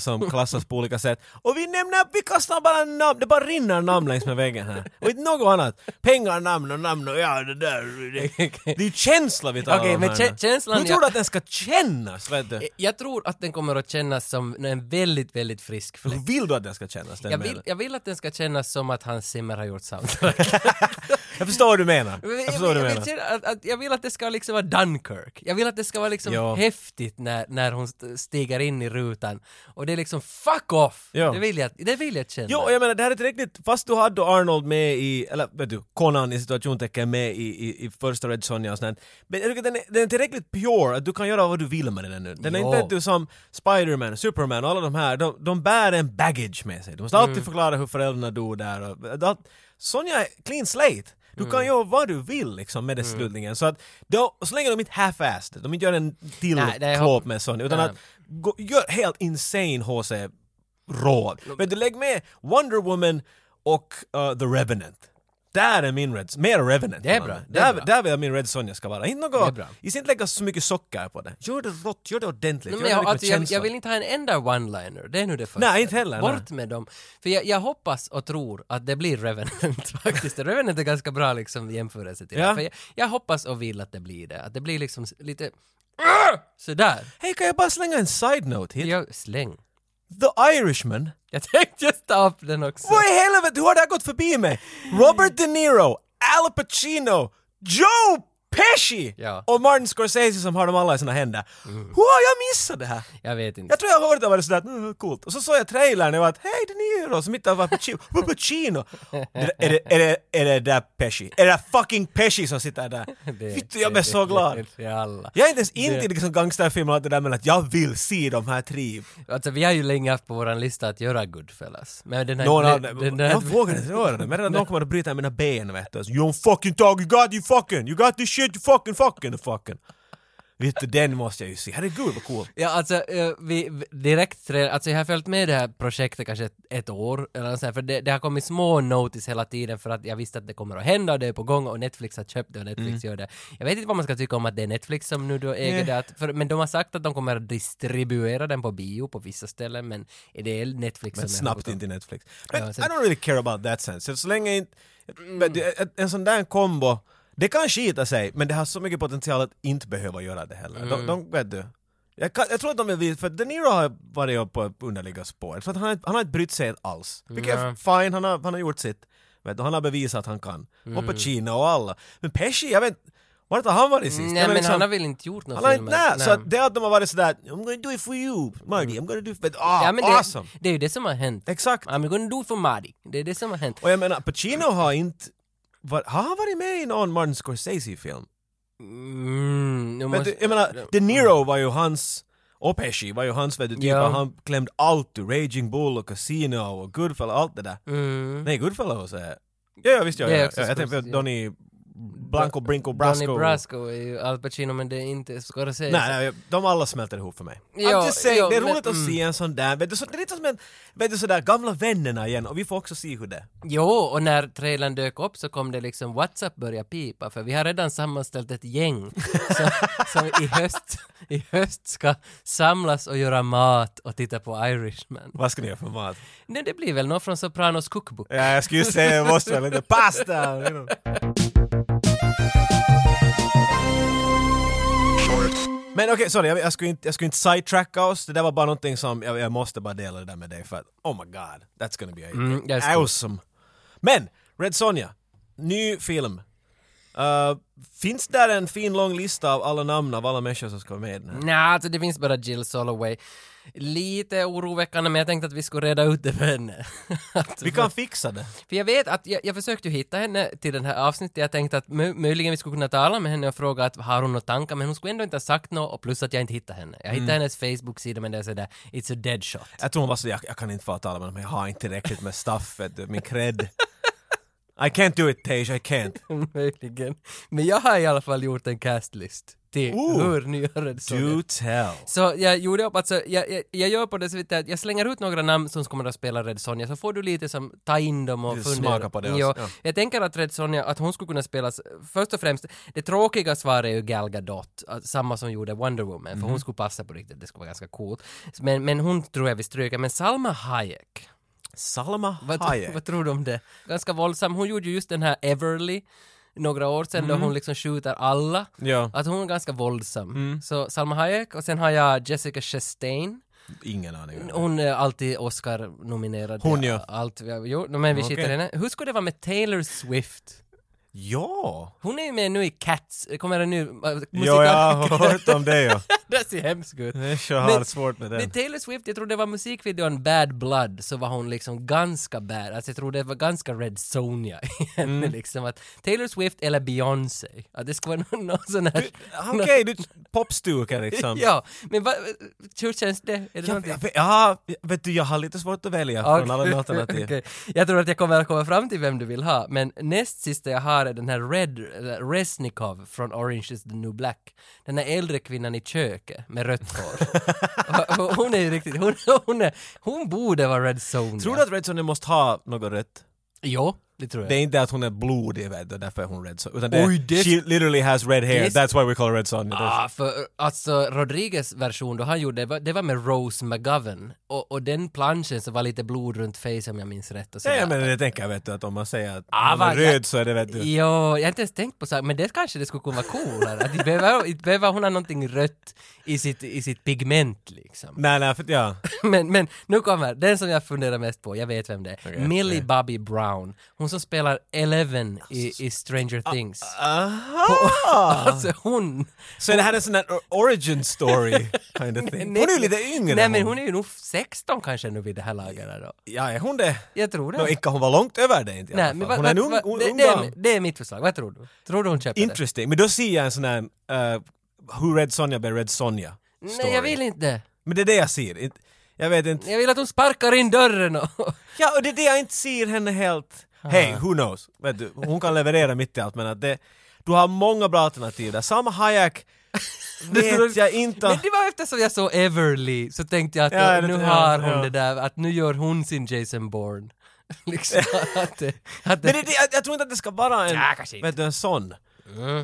[SPEAKER 1] [LAUGHS]
[SPEAKER 2] som klassas på olika sätt. Och vi nämner, vi kastar bara namn, det bara rinner namn längs med väggen här. Och inte något annat. Pengar, namn och namn och ja det där.
[SPEAKER 1] [LAUGHS]
[SPEAKER 2] Det, det är ju känsla vi talar
[SPEAKER 1] Okej,
[SPEAKER 2] om
[SPEAKER 1] men
[SPEAKER 2] här
[SPEAKER 1] kä-
[SPEAKER 2] nu.
[SPEAKER 1] känslan- Eh,
[SPEAKER 2] Hur tror du att den ska kännas? Vet du?
[SPEAKER 1] Jag- Jag tror att den kommer att kännas som en väldigt, väldigt frisk fläkt.
[SPEAKER 2] Hur vill du att den ska kännas? Den
[SPEAKER 1] Jag
[SPEAKER 2] menar?
[SPEAKER 1] vill, jag vill att den ska kännas som att Hans Zimmer har gjort soundtrack.
[SPEAKER 2] jag förstår vad du menar.
[SPEAKER 1] Men
[SPEAKER 2] Jag Alltså, förstår vad du
[SPEAKER 1] jag,
[SPEAKER 2] menar.
[SPEAKER 1] vill känna att, att jag vill att det ska liksom vara Dunkirk. Jag vill att det ska vara liksom
[SPEAKER 2] Ja.
[SPEAKER 1] häftigt när, när hon st- stiger in i rutan. Och det är liksom fuck off!
[SPEAKER 2] Ja.
[SPEAKER 1] Det, vill jag, det vill jag känna.
[SPEAKER 2] Jo, och jag menar det här är inte riktigt, fast du hade Arnold med i, eller vet du, Conan i situationstecken med i, i, i första Red Sonja och sånt. Men jag tycker den är, den är tillräckligt pure, att du kan göra vad du vill med den nu. Den är
[SPEAKER 1] Jo.
[SPEAKER 2] inte vet du, som Spiderman, Superman och alla de här, de, de bär en baggage med sig. Du måste
[SPEAKER 1] Mm.
[SPEAKER 2] alltid förklara hur föräldrarna dog där och, allt. Sonja är clean slate. Du
[SPEAKER 1] Mm.
[SPEAKER 2] kan göra vad du vill liksom med den slutningen. Så att, då, så länge de inte half-assed, de inte gör en till
[SPEAKER 1] Nej, det är-
[SPEAKER 2] klåp med Sonja, utan
[SPEAKER 1] Nej.
[SPEAKER 2] att gå, gör helt insane HC råd. Men du lägg med Wonder Woman och uh, The Revenant. Där är min Red... Mer Revenant.
[SPEAKER 1] Det är
[SPEAKER 2] man.
[SPEAKER 1] bra, det är
[SPEAKER 2] Där,
[SPEAKER 1] bra.
[SPEAKER 2] där vill jag min Red Sonja ska vara. Inte
[SPEAKER 1] Det är
[SPEAKER 2] något...
[SPEAKER 1] bra.
[SPEAKER 2] Jag ska inte lägga så mycket socker på det. Gör det rått, gör det ordentligt.
[SPEAKER 1] Nej, men
[SPEAKER 2] gör det
[SPEAKER 1] jag,
[SPEAKER 2] mycket
[SPEAKER 1] alltså, jag,
[SPEAKER 2] känsla.
[SPEAKER 1] jag vill inte ha en enda one-liner, det är nu det första.
[SPEAKER 2] Nej, inte heller,
[SPEAKER 1] Bort med dem. För jag, jag hoppas och tror att det blir Revenant [LAUGHS] faktiskt. Revenant är ganska bra liksom i jämförelse till
[SPEAKER 2] Ja.
[SPEAKER 1] det. För jag, jag hoppas och vill att det blir det. Att det blir liksom s- lite sådär.
[SPEAKER 2] Hej, kan jag bara slänga en side-note hit?
[SPEAKER 1] Jag, släng.
[SPEAKER 2] The Irishman.
[SPEAKER 1] Jag tänkte just ta upp den också.
[SPEAKER 2] Vad i helvete, hur har det här gått förbi mig? Robert De Niro, Al Pacino, Joe Pesci
[SPEAKER 1] Ja. Mm.
[SPEAKER 2] och Martin Scorsese som har dem alla i sina händer. Hur har jag missat det här?
[SPEAKER 1] Jag vet inte.
[SPEAKER 2] Jag tror jag hörde det var sådär att mm, coolt. Och så såg jag trailern och jag var att hej De Niro som inte var Pacino. Var Pacino. Det- Är det, är det, är det där Pesci? Är det där fucking Pesci som sitter där?
[SPEAKER 1] [LAUGHS] Det-
[SPEAKER 2] Vittu jag
[SPEAKER 1] det-
[SPEAKER 2] blev så
[SPEAKER 1] det-
[SPEAKER 2] glad.
[SPEAKER 1] det är alla.
[SPEAKER 2] Jag är inte ens in i liksom gangsterfilmer och allt det där men att jag vill se de här tre.
[SPEAKER 1] Alltså vi har ju länge haft på våran lista att göra Goodfellas. Men den här...
[SPEAKER 2] Någon av
[SPEAKER 1] den,
[SPEAKER 2] dem,
[SPEAKER 1] den,
[SPEAKER 2] jag
[SPEAKER 1] den,
[SPEAKER 2] vågar inte röra dem. Jag är rädd att någon kommer att bryta mina ben vet du. Så, You don't fucking talk, you got you fucking, you got this shit, you fucking fucking fucking. Vet du, den måste jag ju se. Herregud vad cool.
[SPEAKER 1] ja alltså, eh, vi, vi- direkt, tra- alltså jag har följt med det här projektet kanske ett, ett år eller nåt sånt här, för det, det har kommit små notice hela tiden för att jag visste att det kommer att hända och det är på gång och Netflix har köpt det och Netflix gör det. Jag vet inte vad man ska tycka om att det är Netflix som nu då äger
[SPEAKER 2] Mm. Nej.
[SPEAKER 1] det, att, för, men de har sagt att de kommer att distribuera den på bio på vissa ställen, men är det är Netflix
[SPEAKER 2] Men
[SPEAKER 1] som är
[SPEAKER 2] snabbt
[SPEAKER 1] huvudkontor?
[SPEAKER 2] in till Netflix. Men
[SPEAKER 1] Ja, sen- Mm.
[SPEAKER 2] I don't really care about that sense. Så- Så länge inte... men det- en- En sån där kombo, det kan skita sig, men det har så mycket potential att inte behöva göra det heller.
[SPEAKER 1] Mm.
[SPEAKER 2] De, de, vet du. Jag, kan, jag tror att de vill visa, för De Niro har varit på underliga spår. Så att han, har- han har inte brytt sig alls. Vilket är
[SPEAKER 1] Nej.
[SPEAKER 2] fine, han har, han har gjort sitt. Vet du, han har bevisat att han kan. Och
[SPEAKER 1] Mm.
[SPEAKER 2] Pacino och alla. Men Pesci, jag vet Vart har han varit sist?
[SPEAKER 1] Nej
[SPEAKER 2] Jag
[SPEAKER 1] men
[SPEAKER 2] liksom-
[SPEAKER 1] han har väl inte gjort några
[SPEAKER 2] han har inte,
[SPEAKER 1] filmer?
[SPEAKER 2] nej,
[SPEAKER 1] Nej.
[SPEAKER 2] så att det att de har varit sådär I'm gonna do it for you, Marty, I'm gonna do it for... Ah,
[SPEAKER 1] ja, men det,
[SPEAKER 2] awesome!
[SPEAKER 1] det är ju det som har hänt.
[SPEAKER 2] Exakt!
[SPEAKER 1] I'm gonna do for Marty. Det är det som har hänt.
[SPEAKER 2] Och jag menar, Pacino har inte... Var, har han varit med i någon Martin Scorsese-film?
[SPEAKER 1] Mm, nu
[SPEAKER 2] Men
[SPEAKER 1] måste,
[SPEAKER 2] du, jag menar, De Niro var ju hans... Opeshi var ju hans vet du, typ,
[SPEAKER 1] Ja.
[SPEAKER 2] och han klämde allt ur Raging Bull och Casino och Goodfellow, allt det där.
[SPEAKER 1] Mm.
[SPEAKER 2] Nej, Goodfellow så är... Ja, ja visst, ja,
[SPEAKER 1] Det är
[SPEAKER 2] ja,
[SPEAKER 1] också
[SPEAKER 2] ja, jag tänkte
[SPEAKER 1] skådis,
[SPEAKER 2] på
[SPEAKER 1] ja.
[SPEAKER 2] Donny Blanco, Brinco, Brasco.
[SPEAKER 1] Donny Brasco är ju Al Pacino men det är inte Scorsese.
[SPEAKER 2] Nej, nej, de alla smälter ihop för mig.
[SPEAKER 1] Ja,
[SPEAKER 2] I'm just saying,
[SPEAKER 1] ja,
[SPEAKER 2] det är
[SPEAKER 1] men- mm.
[SPEAKER 2] roligt att se en sån där, vet du, så, det är lite som en, vet du sådär, gamla vännerna igen och vi får också se hur det är.
[SPEAKER 1] Jo, och när trailern dök upp så kom det liksom WhatsApp börja pipa för vi har redan sammanställt ett
[SPEAKER 2] [LAUGHS]
[SPEAKER 1] gäng som, som i, höst, i höst ska samlas och göra mat och titta på Irishman.
[SPEAKER 2] Vad ska ni göra för mat?
[SPEAKER 1] Nej, det blir väl någon från Sopranos cookbook.
[SPEAKER 2] Ja, jag skulle ju säga, jag måste väl inte, pasta! you know.
[SPEAKER 3] shorts,
[SPEAKER 2] Men okej, sorry, jag, jag, skulle inte, jag skulle inte sidetracka oss, det där var bara någonting som, jag, jag måste bara dela det där med dig för att, oh my god, that's gonna be
[SPEAKER 1] Mm, that's cool.
[SPEAKER 2] awesome. Men, Red Sonja, ny film. Uh, finns där en fin lång lista av alla namn av alla människor som ska vara med i den här?
[SPEAKER 1] Nej, alltså det finns bara Jill Soloway. Lite oroväckande, men jag tänkte att vi skulle reda ut det för henne. [LAUGHS] Att-
[SPEAKER 2] Vi kan fixa det.
[SPEAKER 1] För jag vet att jag, jag försökte ju hitta henne till den här avsnittet. Jag tänkte att mö- möjligen vi skulle kunna tala med henne och fråga att har hon några tankar, men hon skulle ändå inte ha sagt något och plus att jag inte hittade henne. Jag hittade hennes Facebook-sida men det är sådär, it's a dead shot.
[SPEAKER 2] Jag tror hon var så, jag, jag kan inte få tala med dem, jag har inte tillräckligt med stuff, vet du, min cred. I can't do it Tej, I can't.
[SPEAKER 1] möjligen. Men jag har i alla fall gjort en castlist till
[SPEAKER 2] Ooh.
[SPEAKER 1] hur nya Red Sonja
[SPEAKER 2] Do tell.
[SPEAKER 1] Så jag gjorde upp, alltså, jag, jag, jag gör på det sättet att jag slänger ut några namn som kommer att spela Red Sonja, så får du lite som, ta in dem och
[SPEAKER 2] Lite
[SPEAKER 1] fundera.
[SPEAKER 2] smaka på det också,
[SPEAKER 1] Ja.
[SPEAKER 2] ja.
[SPEAKER 1] Jag tänker att Red Sonja, att hon skulle kunna spelas, först och främst, det tråkiga svaret är ju Gal Gadot, att- samma som gjorde Wonder Woman, för
[SPEAKER 2] Mhm.
[SPEAKER 1] hon skulle passa på riktigt, det skulle vara ganska coolt. Men, men hon tror jag vi stryker, men Salma Hayek,
[SPEAKER 2] Salma
[SPEAKER 1] vad,
[SPEAKER 2] Hayek.
[SPEAKER 1] vad tror du om det? Ganska våldsam, hon gjorde ju just den här Everly, några år sedan
[SPEAKER 2] Mhm.
[SPEAKER 1] då hon liksom skjuter alla.
[SPEAKER 2] Ja,
[SPEAKER 1] Att hon är ganska våldsam.
[SPEAKER 2] Mm.
[SPEAKER 1] Så Salma Hayek och sen har jag Jessica Chastain.
[SPEAKER 2] ingen aning.
[SPEAKER 1] Hon är alltid Oscar-nominerad.
[SPEAKER 2] Hon,
[SPEAKER 1] till
[SPEAKER 2] ja.
[SPEAKER 1] Allt. vi har- Jo, men vi skiter i
[SPEAKER 2] Okej.
[SPEAKER 1] henne. Hur skulle det vara med Taylor Swift?
[SPEAKER 2] Ja!
[SPEAKER 1] Hon är ju med nu i Cats, kommer det nu äh, musikal?
[SPEAKER 2] Ja,
[SPEAKER 1] [LAUGHS]
[SPEAKER 2] jag har hört om det [LAUGHS] ja.
[SPEAKER 1] det ser hemskt ut.
[SPEAKER 2] Det är så
[SPEAKER 1] Men-
[SPEAKER 2] hard svårt med
[SPEAKER 1] Men
[SPEAKER 2] den.
[SPEAKER 1] Taylor Swift, jag tror det var musikvideon Bad Blood, så var hon liksom ganska bad. Alltså jag tror det var ganska Red Sonja i henne
[SPEAKER 2] Mm.
[SPEAKER 1] liksom. Att Taylor Swift eller Beyoncé. Att det skulle vara [LAUGHS] någon, någon sån här...
[SPEAKER 2] typ, Okej, du popstukar liksom.
[SPEAKER 1] Ja, men vad, hur känns det? Är det
[SPEAKER 2] Jag,
[SPEAKER 1] någonting?
[SPEAKER 2] jag, vet- ja, vet du, jag har lite svårt att välja från alla
[SPEAKER 1] Okej,
[SPEAKER 2] mina
[SPEAKER 1] [LAUGHS]
[SPEAKER 2] alternativ.
[SPEAKER 1] okej. Jag tror att jag kommer att komma fram till vem du vill ha, men näst sista jag har är den här Red eller Resnikov från Orange is the new black. Den här äldre kvinnan i köket med rött hår.
[SPEAKER 2] [LAUGHS]
[SPEAKER 1] Och hon är ju riktigt, hon, hon, är, hon borde vara Red Sonja.
[SPEAKER 2] Tror du att Red Sonja måste ha något rött?
[SPEAKER 1] Jo, det tror jag.
[SPEAKER 2] Det är inte att hon är blodig, vet du, därför är hon Red Sonja. Utan det är,
[SPEAKER 1] Oj, det-
[SPEAKER 2] she literally has red hair,
[SPEAKER 1] Det är-
[SPEAKER 2] that's why we call her Red Sonja. Det är-
[SPEAKER 1] Ah, för alltså Rodriguez version då han gjorde, det var, det var med Rose McGovern och, och den planschen så var lite blod runt face om jag minns rätt och
[SPEAKER 2] Ja,
[SPEAKER 1] sådär.
[SPEAKER 2] ja, men det tänker jag vet du, att om man säger att
[SPEAKER 1] Ah,
[SPEAKER 2] ah, man är
[SPEAKER 1] vad-
[SPEAKER 2] röd så är det vet du.
[SPEAKER 1] Jo, jag har inte ens tänkt på saken, men det kanske det skulle kunna vara coolare. Att inte behöver, inte behöver hon ha någonting rött i sitt, i sitt pigment liksom.
[SPEAKER 2] Nej, nej, för ja.
[SPEAKER 1] Men, men nu kommer den som jag funderar mest på, jag vet vem det är. Millie Bobby Brown, hon som spelar Eleven i,
[SPEAKER 2] Alltså,
[SPEAKER 1] i
[SPEAKER 2] Ah,
[SPEAKER 1] Stranger Things.
[SPEAKER 2] Aha!
[SPEAKER 1] Alltså hon!
[SPEAKER 2] [LAUGHS] Så är det här en sån där o- origin [LAUGHS] story kind of thing? Hon är ju lite yngre.
[SPEAKER 1] Nej men hon är ju nog 16 kanske nu vid det här laget då.
[SPEAKER 2] Ja, är hon det?
[SPEAKER 1] Jag tror det.
[SPEAKER 2] Nå, inte kan hon var långt över det inte i alla
[SPEAKER 1] Nej,
[SPEAKER 2] fall.
[SPEAKER 1] men
[SPEAKER 2] Hon
[SPEAKER 1] vad- vad-
[SPEAKER 2] är en ung,
[SPEAKER 1] vad-
[SPEAKER 2] ung,
[SPEAKER 1] det,
[SPEAKER 2] ung
[SPEAKER 1] det,
[SPEAKER 2] dam.
[SPEAKER 1] är, det är mitt förslag, vad tror du? Tror du hon köper det?
[SPEAKER 2] Interesting. Men då ser jag en sån här eh, Who Red Sonja blev Red Sonja story.
[SPEAKER 1] Nej jag vill inte.
[SPEAKER 2] Men det är det jag ser. Inte- Jag vet inte.
[SPEAKER 1] Jag vill att hon sparkar in dörren och
[SPEAKER 2] Ja, och det är det jag inte ser henne helt. Hey, who knows? Vet du, hon kan leverera mitt i allt men att det... Du har många bra alternativ där. Samma Hayek vet jag inte.
[SPEAKER 1] Men det var eftersom jag såg Everly så tänkte jag att
[SPEAKER 2] Ja,
[SPEAKER 1] eh,
[SPEAKER 2] det-
[SPEAKER 1] nu
[SPEAKER 2] ja,
[SPEAKER 1] har hon
[SPEAKER 2] ja.
[SPEAKER 1] det där, att nu gör hon sin Jason Bourne. [LAUGHS] liksom att det, att det,
[SPEAKER 2] Men det, är det, jag, jag tror inte att det ska vara en,
[SPEAKER 1] Ja, kanske inte.
[SPEAKER 2] vet du, en sån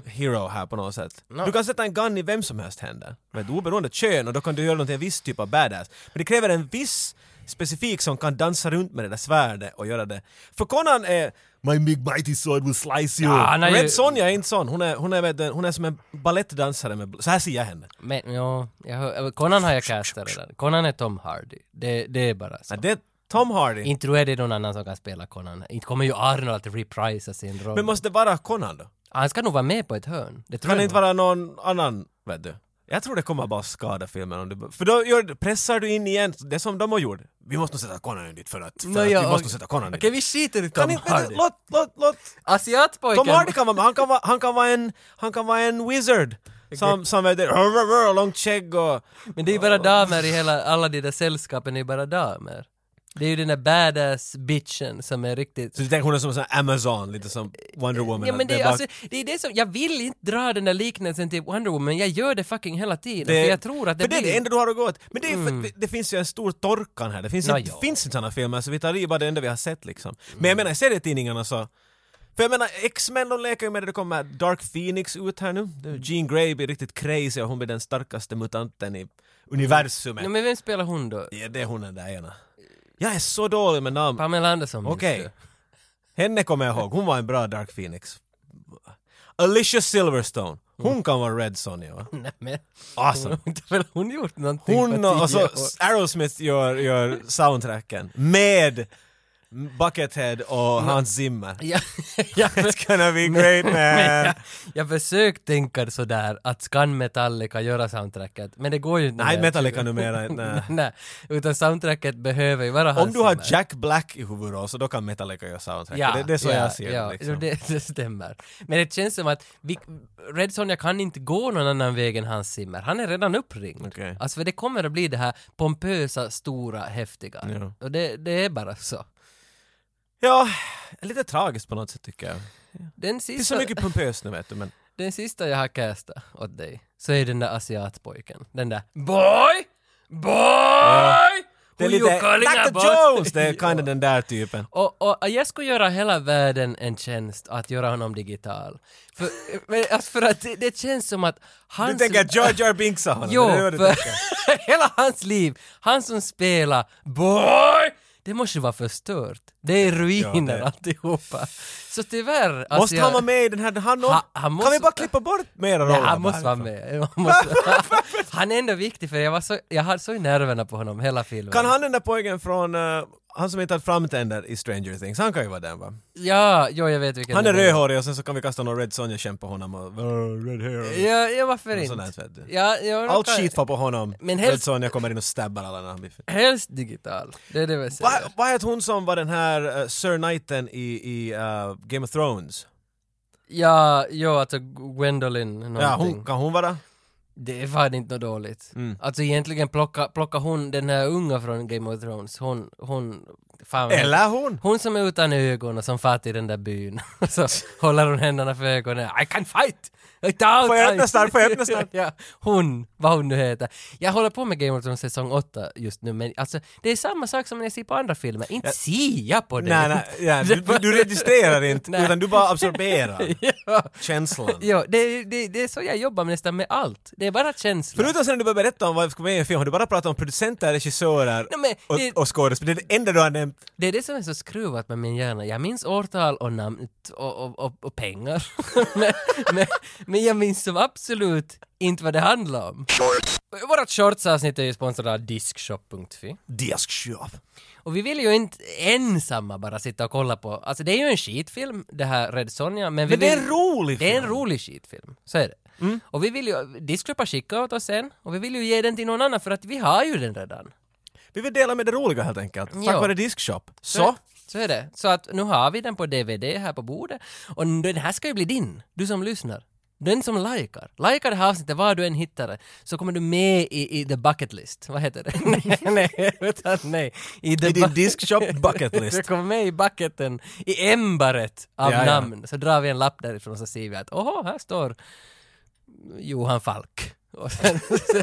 [SPEAKER 2] hero här på något sätt. Du kan sätta en gun i vem som helst händer. Vet du, oberoende kön och då kan du göra någonting, en viss typ av badass. Men det kräver en viss specifik som kan dansa runt med det där svärdet och göra det. För Conan är My big mighty sword will slice you.
[SPEAKER 1] Ja, han är ju-
[SPEAKER 2] Red Sonja är inte sån. Hon är, hon är, vet du, hon är som en balettdansare med... bl- Så här ser jag henne.
[SPEAKER 1] Men ja, jag hör, eh, Conan har jag castat redan. Conan är Tom Hardy. Det, det är bara så.
[SPEAKER 2] Ja, det är Tom Hardy.
[SPEAKER 1] Inte tror jag det är någon annan som kan spela Conan. Inte kommer ju Arnold att reprisa sin roll.
[SPEAKER 2] Men måste det vara Conan då?
[SPEAKER 1] Han ska nog vara med på ett hörn. Det tror
[SPEAKER 2] Kan det
[SPEAKER 1] jag
[SPEAKER 2] inte
[SPEAKER 1] nog.
[SPEAKER 2] vara någon annan, vet du? Jag tror det kommer bara skada filmen om du... För då gör, pressar du in igen det som de har gjort. Vi måste nog sätta Conan in dit för att... För
[SPEAKER 1] Nå,
[SPEAKER 2] att
[SPEAKER 1] ja,
[SPEAKER 2] vi måste
[SPEAKER 1] okej.
[SPEAKER 2] nog sätta Conan
[SPEAKER 1] Okej,
[SPEAKER 2] dit.
[SPEAKER 1] vi skiter i
[SPEAKER 2] Kan
[SPEAKER 1] Tom
[SPEAKER 2] inte...
[SPEAKER 1] Hardy.
[SPEAKER 2] Låt, låt, låt!
[SPEAKER 1] Asiatpojken.
[SPEAKER 2] Tom Hardy kan vara med, han kan vara, han kan vara en... Han kan vara en wizard Sam, samvete, långt skägg och...
[SPEAKER 1] Men det är ju bara damer i hela, alla de där sällskapen är ju bara damer. Det är ju den där badass bitchen som är riktigt...
[SPEAKER 2] Så du tänker hon är som en sån här Amazon, lite som Wonder Woman?
[SPEAKER 1] Ja men
[SPEAKER 2] att
[SPEAKER 1] det är,
[SPEAKER 2] bara-
[SPEAKER 1] alltså, det är det som, jag vill inte dra den där liknelsen till Wonder Woman, jag gör det fucking hela tiden.
[SPEAKER 2] Det-
[SPEAKER 1] för jag tror att det,
[SPEAKER 2] för det är
[SPEAKER 1] blir...
[SPEAKER 2] det enda du har att gå åt. Men det, är för, att det finns ju en stor torkan här. Det finns,
[SPEAKER 1] Nå,
[SPEAKER 2] inte,
[SPEAKER 1] ja. Mm.
[SPEAKER 2] finns inte sådana filmer, så vi tar i bara det enda vi har sett liksom. Men jag menar, serietidningarna så... För jag menar, X-Men de leker ju med det, det kommer Dark Phoenix ut här nu. Jean Grey blir riktigt crazy och hon blir den starkaste mutanten i universumet.
[SPEAKER 1] Ja, men vem spelar hon då?
[SPEAKER 2] Ja, det är hon den där ena. Jag är så dålig med namn.
[SPEAKER 1] Pamela Anderson minns
[SPEAKER 2] Okej.
[SPEAKER 1] du? [LAUGHS]
[SPEAKER 2] Henne kommer jag ihåg, hon var en bra Dark Phoenix. Alicia Silverstone,
[SPEAKER 1] Mm.
[SPEAKER 2] hon kan vara Red Sonja va?
[SPEAKER 1] Nej men, [LAUGHS]
[SPEAKER 2] Awesome!
[SPEAKER 1] inte väl hon gjort någonting
[SPEAKER 2] Hon
[SPEAKER 1] på
[SPEAKER 2] och, alltså-
[SPEAKER 1] tio
[SPEAKER 2] och så
[SPEAKER 1] år?
[SPEAKER 2] Aerosmith gör, gör soundtracken med Buckethead och Hans Zimmer.
[SPEAKER 1] Ja, Mm. [LAUGHS] ja, men-
[SPEAKER 2] [LAUGHS] It's gonna be
[SPEAKER 1] [LAUGHS]
[SPEAKER 2] great
[SPEAKER 1] Men
[SPEAKER 2] man!
[SPEAKER 1] jag, jag försökte tänka sådär att kan Metallica göra soundtracket, men det går ju inte.
[SPEAKER 2] Nej,
[SPEAKER 1] med-
[SPEAKER 2] Metallica
[SPEAKER 1] [LAUGHS]
[SPEAKER 2] numera inte.
[SPEAKER 1] Nej, utan soundtracket behöver ju vara
[SPEAKER 2] Om du har
[SPEAKER 1] Zimmer.
[SPEAKER 2] Jack Black i huvudroll så då kan Metallica göra soundtracken. det, det är så
[SPEAKER 1] ja,
[SPEAKER 2] jag ser
[SPEAKER 1] ja,
[SPEAKER 2] det. liksom.
[SPEAKER 1] det. Det stämmer. Men det känns som att vi, Red Sonja kan inte gå någon annan väg än Hans Zimmer. Han är redan uppringd.
[SPEAKER 2] Okej.
[SPEAKER 1] Alltså för det kommer att bli det här pompösa, stora, häftiga.
[SPEAKER 2] Ja.
[SPEAKER 1] Och det, det är bara så.
[SPEAKER 2] Ja, lite tragiskt på något sätt tycker jag.
[SPEAKER 1] Den
[SPEAKER 2] Det är så
[SPEAKER 1] sista,
[SPEAKER 2] mycket pompöst nu vet du men...
[SPEAKER 1] den sista jag har castat åt dig, så är den där asiatpojken. Den där Boy! Boy!
[SPEAKER 2] Det är
[SPEAKER 1] Who you
[SPEAKER 2] lite
[SPEAKER 1] calling
[SPEAKER 2] Dr.
[SPEAKER 1] about? [LAUGHS]
[SPEAKER 2] Jones! Det är
[SPEAKER 1] Ja.
[SPEAKER 2] kind of den där typen.
[SPEAKER 1] Och, och jag skulle göra hela världen en tjänst att göra honom digital. För, [LAUGHS] men, alltså för att det, det känns som att hans...
[SPEAKER 2] Du tänker att George R. Binks sa honom?
[SPEAKER 1] Jo,
[SPEAKER 2] det är vad du
[SPEAKER 1] för [LAUGHS]
[SPEAKER 2] tänker.
[SPEAKER 1] hela hans liv, han som spelar Boy! Det måste ju vara förstört. Det är ruiner
[SPEAKER 2] det-
[SPEAKER 1] alltihopa. Så tyvärr... alltså
[SPEAKER 2] Måste han
[SPEAKER 1] jag-
[SPEAKER 2] vara med i den här? Han,
[SPEAKER 1] Ha- han
[SPEAKER 2] Kan vi
[SPEAKER 1] måste-
[SPEAKER 2] bara klippa bort mera roller?
[SPEAKER 1] Nej, han måste vara
[SPEAKER 2] därifrån?
[SPEAKER 1] med.
[SPEAKER 2] [LAUGHS]
[SPEAKER 1] Han Måste, [LAUGHS] han är ändå viktig för jag, var så, jag hade så i nerverna på honom hela filmen.
[SPEAKER 2] Kan han den där pojken från, eh, han som inte hade framtänder i Stranger Things, han kan ju vara den va?
[SPEAKER 1] Ja, jo, jag vet vilken
[SPEAKER 2] Han är
[SPEAKER 1] du menar.
[SPEAKER 2] rödhårig och sen så kan vi kasta någon Red Sonja-kämp på honom och "Åh, Red Hair.
[SPEAKER 1] Ja, ja varför
[SPEAKER 2] Och sånt
[SPEAKER 1] inte?
[SPEAKER 2] där, vet du.
[SPEAKER 1] Ja, ja,
[SPEAKER 2] Allt
[SPEAKER 1] kan-
[SPEAKER 2] skit var på honom,
[SPEAKER 1] Men
[SPEAKER 2] Red
[SPEAKER 1] helst-
[SPEAKER 2] Sonja kommer in och stabbar alla när han blir
[SPEAKER 1] Helst digital. Det är det vi
[SPEAKER 2] Vad
[SPEAKER 1] säger.
[SPEAKER 2] vad hette hon som var den här eh, Sir Knighten i, i eh, Game of Thrones?
[SPEAKER 1] Ja, jo, alltså Gwendolyn någonting.
[SPEAKER 2] Ja, hon, kan hon vara?
[SPEAKER 1] Det är fan inte något dåligt.
[SPEAKER 2] Mm.
[SPEAKER 1] Alltså egentligen plocka, plocka hon den här unga från Game of Thrones, hon, hon, fan vad-
[SPEAKER 2] Eller hon?
[SPEAKER 1] Hon som är utan ögon och som far till den där byn. [LAUGHS] Och så håller hon händerna för ögonen. I can fight! I doubt
[SPEAKER 2] Får jag
[SPEAKER 1] I-
[SPEAKER 2] öppna snart? Får
[SPEAKER 1] [LAUGHS]
[SPEAKER 2] jag öppna snart?
[SPEAKER 1] ja, hon, vad hon nu heter. Jag håller på med Game of Thrones säsong 8 just nu, men alltså det är samma sak som när jag ser på andra filmer. Inte ser jag på det!
[SPEAKER 2] Nej, nej, ja, du, du- du registrerar inte,
[SPEAKER 1] Nej.
[SPEAKER 2] utan du bara absorberar
[SPEAKER 1] [LAUGHS] [LAUGHS] ja.
[SPEAKER 2] känslan.
[SPEAKER 1] Ja, det, är- det, det är så jag jobbar med nästan med allt. Det är bara känslor.
[SPEAKER 2] Förutom sen när du började berätta om vad vi ska med i en film, har du bara pratat om producenter, regissörer
[SPEAKER 1] Nej, men
[SPEAKER 2] och,
[SPEAKER 1] det-
[SPEAKER 2] och skådespelare. Det är det enda du har nämnt.
[SPEAKER 1] Det är det som är så skruvat med min hjärna. Jag minns årtal och namn och, och, och, och pengar. [LAUGHS] men, men, men jag minns som absolut inte vad det handlar om. Vårt shortsavsnitt är ju sponsrat av Diskshop.fi.
[SPEAKER 2] Diskshop.
[SPEAKER 1] Och vi vill ju inte ensamma bara sitta och kolla på, alltså det är ju en skitfilm det här Red Sonja, men vi
[SPEAKER 2] Men det är
[SPEAKER 1] vill-
[SPEAKER 2] en rolig
[SPEAKER 1] Det är en
[SPEAKER 2] film. Mm.
[SPEAKER 1] rolig skitfilm, så är det. Och vi vill ju, Diskshop har skickat åt oss sen, och vi vill ju ge den till någon annan för att vi har ju den redan.
[SPEAKER 2] Vi vill dela med det roliga helt enkelt. Tack
[SPEAKER 1] Ja.
[SPEAKER 2] vare Diskshop. Så.
[SPEAKER 1] Så, så är det. Så att nu har vi den på DVD här på bordet. Och den här ska ju bli din, du som lyssnar. Den som likar. Likar det här avsnittet var du än hittar det, så kommer du med i, i the bucket list. Vad heter det? [LAUGHS] nej, nej, utan nej. I, the
[SPEAKER 2] I din
[SPEAKER 1] bu- [LAUGHS]
[SPEAKER 2] Diskshop bucket
[SPEAKER 1] Du
[SPEAKER 2] list.
[SPEAKER 1] kommer med i bucketen, i ämbaret av
[SPEAKER 2] Ja, ja.
[SPEAKER 1] namn. Så drar vi en lapp därifrån så ser vi att åhå, här står Johan Falk. Och sen, [LAUGHS] sen,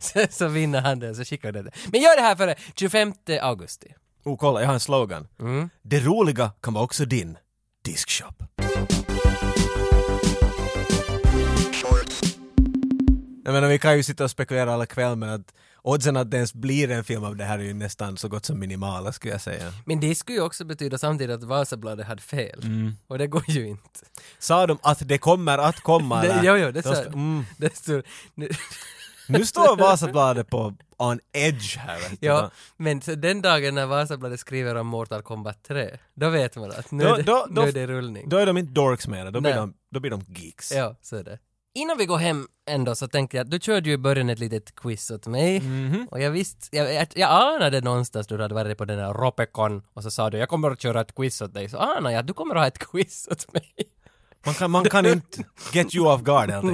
[SPEAKER 1] sen så vinner han den, så skickar den. Men gör det här före 25 augusti.
[SPEAKER 2] Oh, kolla, jag har en slogan.
[SPEAKER 1] Mm.
[SPEAKER 2] Det roliga kan vara också din. Diskshop. Jag menar, vi kan ju sitta och spekulera alla kväll men att oddsen att det ens blir en film av det här är ju nästan så gott som minimala skulle jag säga.
[SPEAKER 1] Men det skulle ju också betyda samtidigt att Vasabladet hade fel.
[SPEAKER 2] Mm.
[SPEAKER 1] Och det går ju inte.
[SPEAKER 2] Sa de att det kommer att
[SPEAKER 1] [LAUGHS]
[SPEAKER 2] komma?
[SPEAKER 1] Det,
[SPEAKER 2] eller?
[SPEAKER 1] jo, jo, det
[SPEAKER 2] De
[SPEAKER 1] sa
[SPEAKER 2] sp- mm.
[SPEAKER 1] det stod, nu,
[SPEAKER 2] Nu står Vasabladet på on edge här. vet du.
[SPEAKER 1] ja, men så den dagen när Vasabladet skriver om Mortal Kombat 3, då vet man att nu,
[SPEAKER 2] Då-
[SPEAKER 1] är, det,
[SPEAKER 2] då- då-
[SPEAKER 1] nu är det rullning.
[SPEAKER 2] Då är de inte dorks mer, då blir,
[SPEAKER 1] Nej.
[SPEAKER 2] de, då blir de geeks.
[SPEAKER 1] Ja, så är det. Innan vi går hem ändå så tänkte jag att du körde ju i början ett litet quiz åt mig.
[SPEAKER 2] Mhm.
[SPEAKER 1] Och jag visste, jag, jag, jag anade någonstans då du hade varit på den här [LAUGHS] Ropecon och så sa du jag kommer att köra ett quiz åt dig. Så anade jag att du kommer att ha ett quiz åt mig.
[SPEAKER 2] Man kan, man kan inte get you off guard helt
[SPEAKER 1] nej,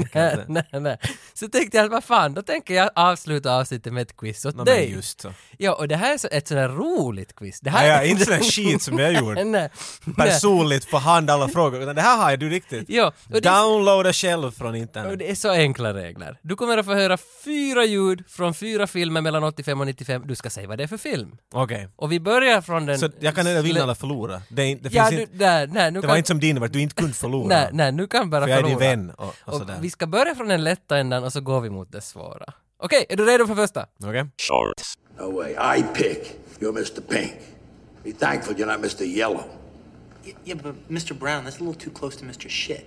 [SPEAKER 1] [LAUGHS]
[SPEAKER 2] enkelt.
[SPEAKER 1] nej, nej. Så tänkte jag att vad fan, då tänker jag avsluta avsnittet med ett quiz åt
[SPEAKER 2] Nå, men
[SPEAKER 1] dig.
[SPEAKER 2] just så.
[SPEAKER 1] Ja, och det här är så, ett sånt här roligt quiz. Det här
[SPEAKER 2] Nej, ja, inte
[SPEAKER 1] [LAUGHS]
[SPEAKER 2] sån här skit som jag gjorde.
[SPEAKER 1] Nej.
[SPEAKER 2] Personligt på hand alla frågor. Utan det här har jag du riktigt.
[SPEAKER 1] Ja, och det,
[SPEAKER 2] Downloada själv från
[SPEAKER 1] och
[SPEAKER 2] internet.
[SPEAKER 1] det är så enkla regler. Du kommer att få höra fyra ljud från fyra filmer mellan 85 och 95. Du ska säga vad det är för film.
[SPEAKER 2] Okej.
[SPEAKER 1] Och vi börjar från den...
[SPEAKER 2] Så jag kan ändå vinna eller förlora. Det, är inte- det,
[SPEAKER 1] Ja,
[SPEAKER 2] finns
[SPEAKER 1] du,
[SPEAKER 2] inte,
[SPEAKER 1] nej, nej, nu
[SPEAKER 2] det
[SPEAKER 1] kan,
[SPEAKER 2] var inte som din, att du inte kunde förlora.
[SPEAKER 1] nej, nej, nu kan bara
[SPEAKER 2] för jag är
[SPEAKER 1] förlora.
[SPEAKER 2] din vän och, och
[SPEAKER 1] Och
[SPEAKER 2] sådär.
[SPEAKER 1] vi ska börja från den lätta ändan och så går vi mot det svåra. Okej, är du redo för första?
[SPEAKER 2] Okej?
[SPEAKER 3] shorts,
[SPEAKER 4] No way. I pick. You're Mr. Pink. Be thankful you're not Mr. Yellow.
[SPEAKER 5] Y- Yeah, but Mr. Brown, that's a little too close to Mr. Shit.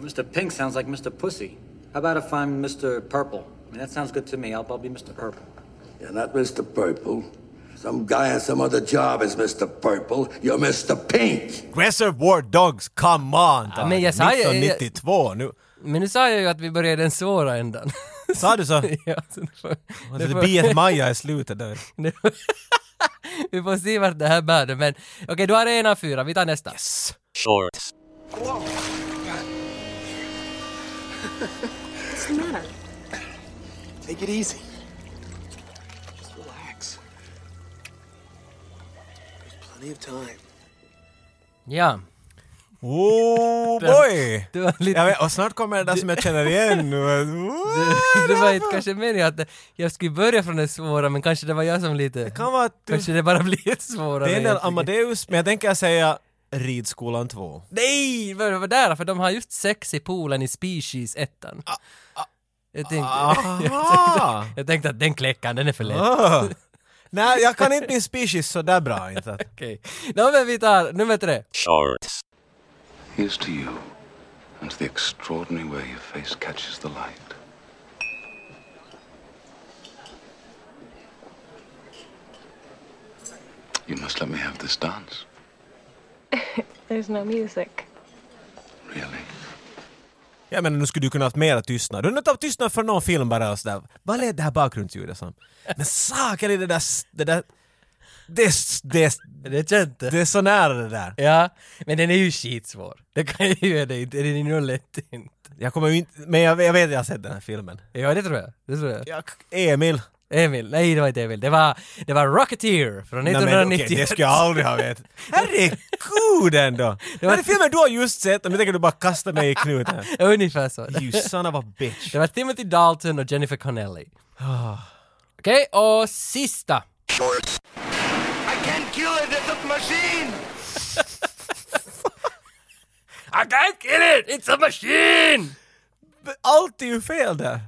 [SPEAKER 6] Mr. Pink sounds like Mr. Pussy. How about if I'm Mr. Purple? I mean, that sounds good to me. I'll, I'll be Mr. Purple.
[SPEAKER 4] You're not Mr. Purple. Some guy on some other job is Mr. Purple. You're Mr. Pink.
[SPEAKER 2] Reservoir Dogs, come on! Tage.
[SPEAKER 1] men jag sa ju-
[SPEAKER 2] 1992 nu.
[SPEAKER 1] Men nu sa jag ju att vi börjar i den svåra ändan.
[SPEAKER 2] Sa du så?
[SPEAKER 1] [LAUGHS]
[SPEAKER 2] Alltså,
[SPEAKER 1] ja, så det får, det
[SPEAKER 2] Det
[SPEAKER 1] får- [LAUGHS]
[SPEAKER 2] blir ett Maja i slutet där.
[SPEAKER 1] det får- [LAUGHS] vi får se vart det här bär det, men okej, du har en av fyra, vi tar nästa.
[SPEAKER 3] shorts,
[SPEAKER 7] What's the matter?
[SPEAKER 8] Take it easy. Just relax. There's plenty of time.
[SPEAKER 1] Ja,
[SPEAKER 2] Oh boy!
[SPEAKER 1] det var lite...
[SPEAKER 2] Jag vet, och snart kommer det där som jag känner
[SPEAKER 1] [LAUGHS]
[SPEAKER 2] igen nu.
[SPEAKER 1] Det var inte kanske meningen att jag skulle börja från det svåra, men kanske det var jag som lite... Det
[SPEAKER 2] kan vara att du-
[SPEAKER 1] Kanske det bara [LAUGHS] blir ett svårare.
[SPEAKER 2] Det är en del
[SPEAKER 1] egentligen.
[SPEAKER 2] Amadeus, men jag tänker säga Ridskolan 2.
[SPEAKER 1] Nej! Vad var där? För de har just sex i poolen i Species 1.
[SPEAKER 2] Ah,
[SPEAKER 1] [LAUGHS] Jag tänkte,
[SPEAKER 2] Aha!
[SPEAKER 1] jag tänkte att den kläckan, den är för lätt.
[SPEAKER 2] Ah. Nej, jag kan inte min species så där bra inte.
[SPEAKER 1] Okej. Nå men vi tar nummer tre.
[SPEAKER 3] shorts,
[SPEAKER 9] Here's to you and to the extraordinary way your face catches the light. You must let me have this dance,
[SPEAKER 7] There's no music.
[SPEAKER 9] really.
[SPEAKER 2] Jag menar, nu skulle du kunna haft mera tystnad. Du har inte haft tystnad för någon film bara och sådär. Vad lät det här bakgrundsljudet som? Men saker i det där... s- Det där... Det, s- det, s-
[SPEAKER 1] Det kände.
[SPEAKER 2] det är så nära det där.
[SPEAKER 1] Ja, men den är ju skitsvår. Det kan jag ju ge dig inte. Den är nog lätt inte.
[SPEAKER 2] Jag kommer ju inte... Men jag, jag vet att jag har sett den här filmen.
[SPEAKER 1] Ja, det tror jag. Det tror jag.
[SPEAKER 2] Jag, Emil.
[SPEAKER 1] Emil. Nej, det var inte Emil. Det var, det var Rocketeer från
[SPEAKER 2] Nej, men
[SPEAKER 1] 1991.
[SPEAKER 2] okej, det skulle
[SPEAKER 1] [LAUGHS]
[SPEAKER 2] jag aldrig ha vetat. [LAUGHS] Herregud ändå! Det var filmen du har just sett och nu tänker du bara kasta mig i knuten.
[SPEAKER 1] Ungefär så.
[SPEAKER 2] [LAUGHS] You son of a bitch.
[SPEAKER 1] Det var Timothy Dalton och Jennifer Connelly. [SIGHS] Okej, och sista.
[SPEAKER 4] I can't kill it. It's a machine.
[SPEAKER 1] [LAUGHS] I can't kill it! It's a machine!
[SPEAKER 2] Allt är ju fel där.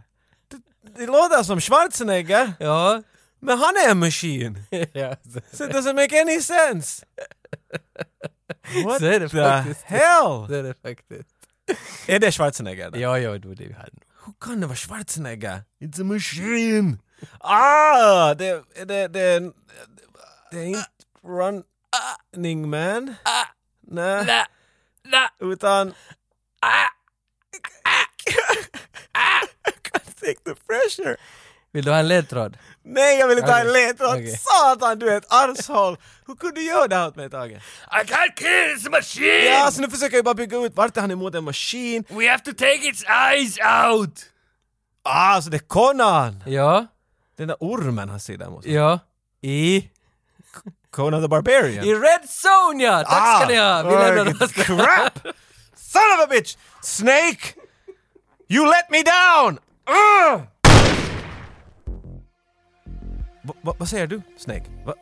[SPEAKER 2] Det, det låter som Schwarzenegger,
[SPEAKER 1] [LAUGHS] Ja.
[SPEAKER 2] men han är en [LAUGHS] maskin.
[SPEAKER 1] ja så,
[SPEAKER 2] So it doesn't make any sense. What
[SPEAKER 1] Så är det
[SPEAKER 2] the
[SPEAKER 1] faktiskt.
[SPEAKER 2] hell?
[SPEAKER 1] det är det faktiskt.
[SPEAKER 2] Är det Schwarzenegger? då?
[SPEAKER 1] Ja, ja, det var det vi hade.
[SPEAKER 2] Hur kan det vara Schwarzenegger? It's a machine! Ah! Det, det, det, det är inte Running Man. Nej,
[SPEAKER 1] Nä, nä,
[SPEAKER 2] utan... [LAUGHS] Jag kan Take the pressure!
[SPEAKER 1] Vill du ha en ledtråd?
[SPEAKER 2] Nej, jag vill inte ha en
[SPEAKER 1] Okej.
[SPEAKER 2] ledtråd!
[SPEAKER 1] Okej.
[SPEAKER 2] Satan, du är ett arshål! Hur kunde du göra det här åt mig, Tage?
[SPEAKER 1] I can't kill this machine!
[SPEAKER 2] Ja, så nu försöker jag bara bygga ut vart är han emot en maskin?
[SPEAKER 1] We have to take its eyes out!
[SPEAKER 2] Ah, så det är Conan!
[SPEAKER 1] Ja,
[SPEAKER 2] Den där ormen han ser där mot.
[SPEAKER 1] ja. I?
[SPEAKER 2] Conan the Barbarian.
[SPEAKER 1] I Red Sonja! Tack ska ni ha! Vi lämnar
[SPEAKER 2] vilken
[SPEAKER 1] oss där.
[SPEAKER 2] Ah, crap! Son of a bitch! Snake! You let me down! Ugh! Va- va- vad säger du, Snake? Va?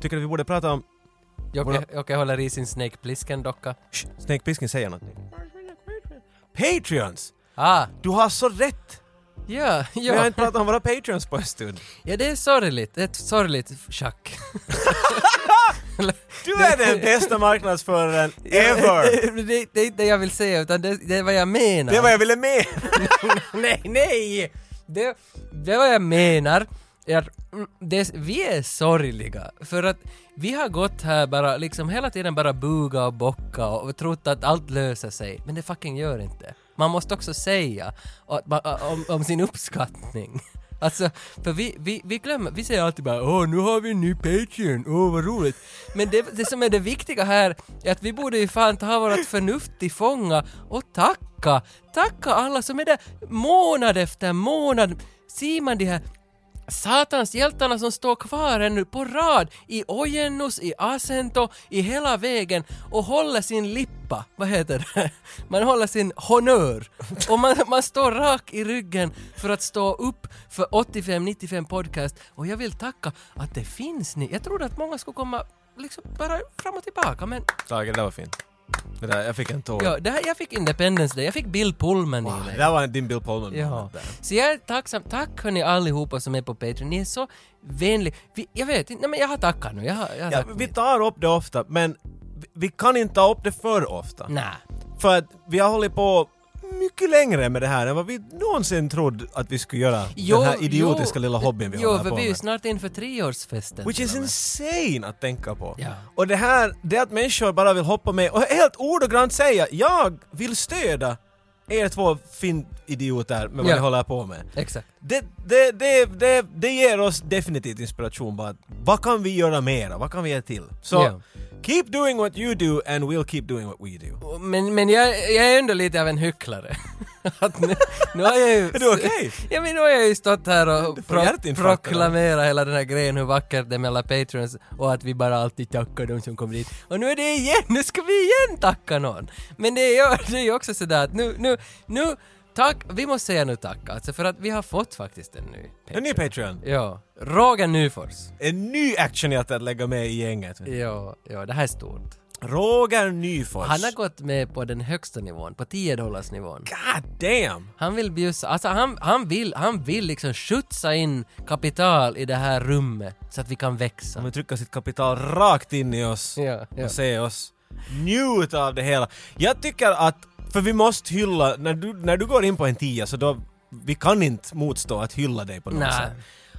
[SPEAKER 2] Tycker du vi borde prata om...
[SPEAKER 1] Jocke, Jocke håller i sin Snake Plissken-docka.
[SPEAKER 2] Shh, Snake Plissken säger någonting. Patreons!
[SPEAKER 1] Ah,
[SPEAKER 2] Du har så rätt!
[SPEAKER 1] ja,
[SPEAKER 2] Vi har
[SPEAKER 1] ja.
[SPEAKER 2] inte pratat om våra Patreons på en stund.
[SPEAKER 1] Ja, det är sorgligt. Ett sorgligt schack.
[SPEAKER 2] Du är den bästa marknadsföraren ever!
[SPEAKER 1] [LAUGHS] det, det är inte det jag vill säga, utan det, det är vad jag menar.
[SPEAKER 2] Det var jag ville med!
[SPEAKER 1] [LAUGHS] nej, nej! Det, det vad jag menar är att mm, det, vi är sorgliga för att vi har gått här bara liksom hela tiden bara buga och bocka och, och trott att allt löser sig men det fucking gör inte. Man måste också säga att, ma- om, om sin uppskattning. Alltså, för vi, vi, vi glömmer, vi säger alltid bara åh nu har vi en ny Patreon, åh vad roligt. Men det, det som är det viktiga här är att vi borde ju fan ta vårt förnuft till fånga och tacka, tacka alla som är där månad efter månad. Ser man de här Satans hjältarna som står kvar ännu på rad i Ojennus, i Asento, i hela vägen och håller sin lippa, vad heter det? [LAUGHS] Man håller sin honör och man, man står rak i ryggen för att stå upp för 85-95 podcast och jag vill tacka att det finns ni. Jag trodde att många skulle komma liksom bara fram och tillbaka men
[SPEAKER 2] Tage, det där var fint. Det där, jag fick en tår.
[SPEAKER 1] ja, det här, jag fick Independence Day, jag fick Bill Pullman i
[SPEAKER 2] Det
[SPEAKER 1] mig.
[SPEAKER 2] där var din Bill Pullman
[SPEAKER 1] Ja.
[SPEAKER 2] moment där.
[SPEAKER 1] Så jag är tacksam. Tack hörni allihopa som är på Patreon. Ni är så vänliga. Vi, jag vet inte, nej men jag har tackat nu. Jag har, jag har
[SPEAKER 2] Ja,
[SPEAKER 1] sagt
[SPEAKER 2] Alltså, vi
[SPEAKER 1] mitt.
[SPEAKER 2] tar upp det ofta, men vi- vi kan inte ta upp det för ofta.
[SPEAKER 1] Nej.
[SPEAKER 2] För att vi har hållit på mycket längre med det här än vad vi någonsin trodde att vi skulle göra. den här idiotiska lilla hobbyn vi
[SPEAKER 1] jo,
[SPEAKER 2] håller
[SPEAKER 1] för
[SPEAKER 2] på
[SPEAKER 1] vi är ju
[SPEAKER 2] med.
[SPEAKER 1] snart inför treårsfesten.
[SPEAKER 2] Which
[SPEAKER 1] till
[SPEAKER 2] is
[SPEAKER 1] och med.
[SPEAKER 2] insane att tänka på.
[SPEAKER 1] Ja.
[SPEAKER 2] Och det här, det att människor bara vill hoppa med och helt ordagrant säga jag vill stödja er två finn-idioter med vad
[SPEAKER 1] Ja.
[SPEAKER 2] ni håller på med.
[SPEAKER 1] Exakt.
[SPEAKER 2] Det, det, det, det, det ger oss definitivt inspiration bara att, vad kan vi göra mera, vad kan vi göra till? Så
[SPEAKER 1] Ja.
[SPEAKER 2] keep doing what you do and we'll keep doing what we do.
[SPEAKER 1] Och- Men, men jag, jag är ändå lite av en hycklare. [LAUGHS] Att nu, nu har jag ju...
[SPEAKER 2] [LAUGHS] Är du okej?
[SPEAKER 1] Ja men nu har jag ju stått här och
[SPEAKER 2] får
[SPEAKER 1] pro-
[SPEAKER 2] hjärtinfarkt,
[SPEAKER 1] proklamerat hela den här grejen hur vackert det är med alla patrons och att vi bara alltid tackar de som kommer dit. Och nu är det igen, nu ska vi igen tacka någon! Men det är ju [LAUGHS] det är ju också sådär att nu, nu, nu, tack, vi måste säga nu tack alltså för att vi har fått faktiskt en ny
[SPEAKER 2] En
[SPEAKER 1] patron.
[SPEAKER 2] ny Patreon,
[SPEAKER 1] Ja, Roger Nyfors.
[SPEAKER 2] en ny actionhjälte att lägga med i gänget.
[SPEAKER 1] Ja, ja, det här är stort.
[SPEAKER 2] Roger Nyfors.
[SPEAKER 1] Han har gått med på den högsta nivån, på 10 dollars nivån.
[SPEAKER 2] God damn!
[SPEAKER 1] Han vill bjussa, alltså han, han vill, han vill liksom skjutsa in kapital i det här rummet så att vi kan
[SPEAKER 2] De
[SPEAKER 1] växa.
[SPEAKER 2] vill trycka sitt kapital rakt in i oss
[SPEAKER 1] Ja, ja.
[SPEAKER 2] och se oss njuta av det hela. Jag tycker att, för vi måste hylla, när du, när du går in på en tia så då, vi kan inte motstå att hylla dig på något
[SPEAKER 1] Nej.
[SPEAKER 2] sätt.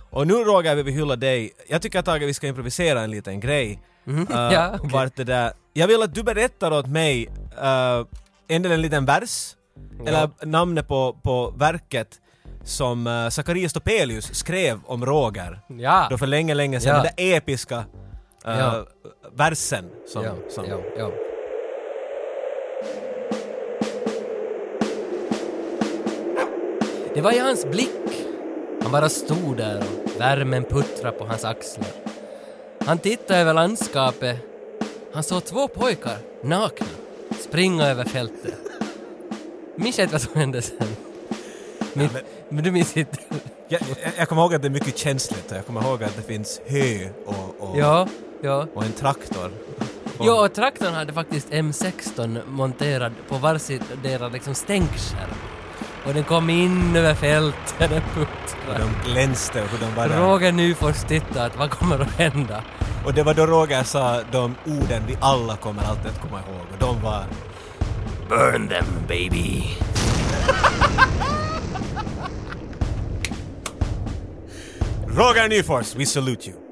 [SPEAKER 2] Och nu Roger, vi vill hylla dig. Jag tycker att Tage, vi ska improvisera en liten grej. Äh,
[SPEAKER 1] Mm-hmm. [LAUGHS] ja, okej.
[SPEAKER 2] Vart det där... Jag vill att du berättar åt mig, uh, endera en liten vers, eller namnet på, på verket som uh, Zacharias Topelius skrev om Roger
[SPEAKER 1] Ja.
[SPEAKER 2] då för länge, länge sedan.
[SPEAKER 1] Ja.
[SPEAKER 2] Den där episka eh,
[SPEAKER 1] Ja.
[SPEAKER 2] versen som...
[SPEAKER 1] Ja,
[SPEAKER 2] som
[SPEAKER 1] ja, ja. Det var i hans blick. Han bara stod där och värmen puttrade på hans axlar. Han tittade över landskapet. Han såg två pojkar, nakna, springa över fältet. Minns jag inte vad som hände sen. Min, men... du minns inte?
[SPEAKER 2] Jag, jag, jag kommer ihåg att det är mycket känsligt och jag kommer ihåg att det finns hö och, och,
[SPEAKER 1] Ja, ja.
[SPEAKER 2] och en traktor. Och-
[SPEAKER 1] Ja, och traktorn hade faktiskt M16 monterad på varsidera liksom stänkskärm. Och den kom in över fältet, den
[SPEAKER 2] och
[SPEAKER 1] puttrade.
[SPEAKER 2] de glänste och hur de var där.
[SPEAKER 1] Roger Nyfors tittade att vad kommer att hända?
[SPEAKER 2] Och det var då Roger sa de orden vi alla kommer alltid att komma ihåg och de var...
[SPEAKER 1] Burn them baby!
[SPEAKER 2] Roger Nyfors, we salute you!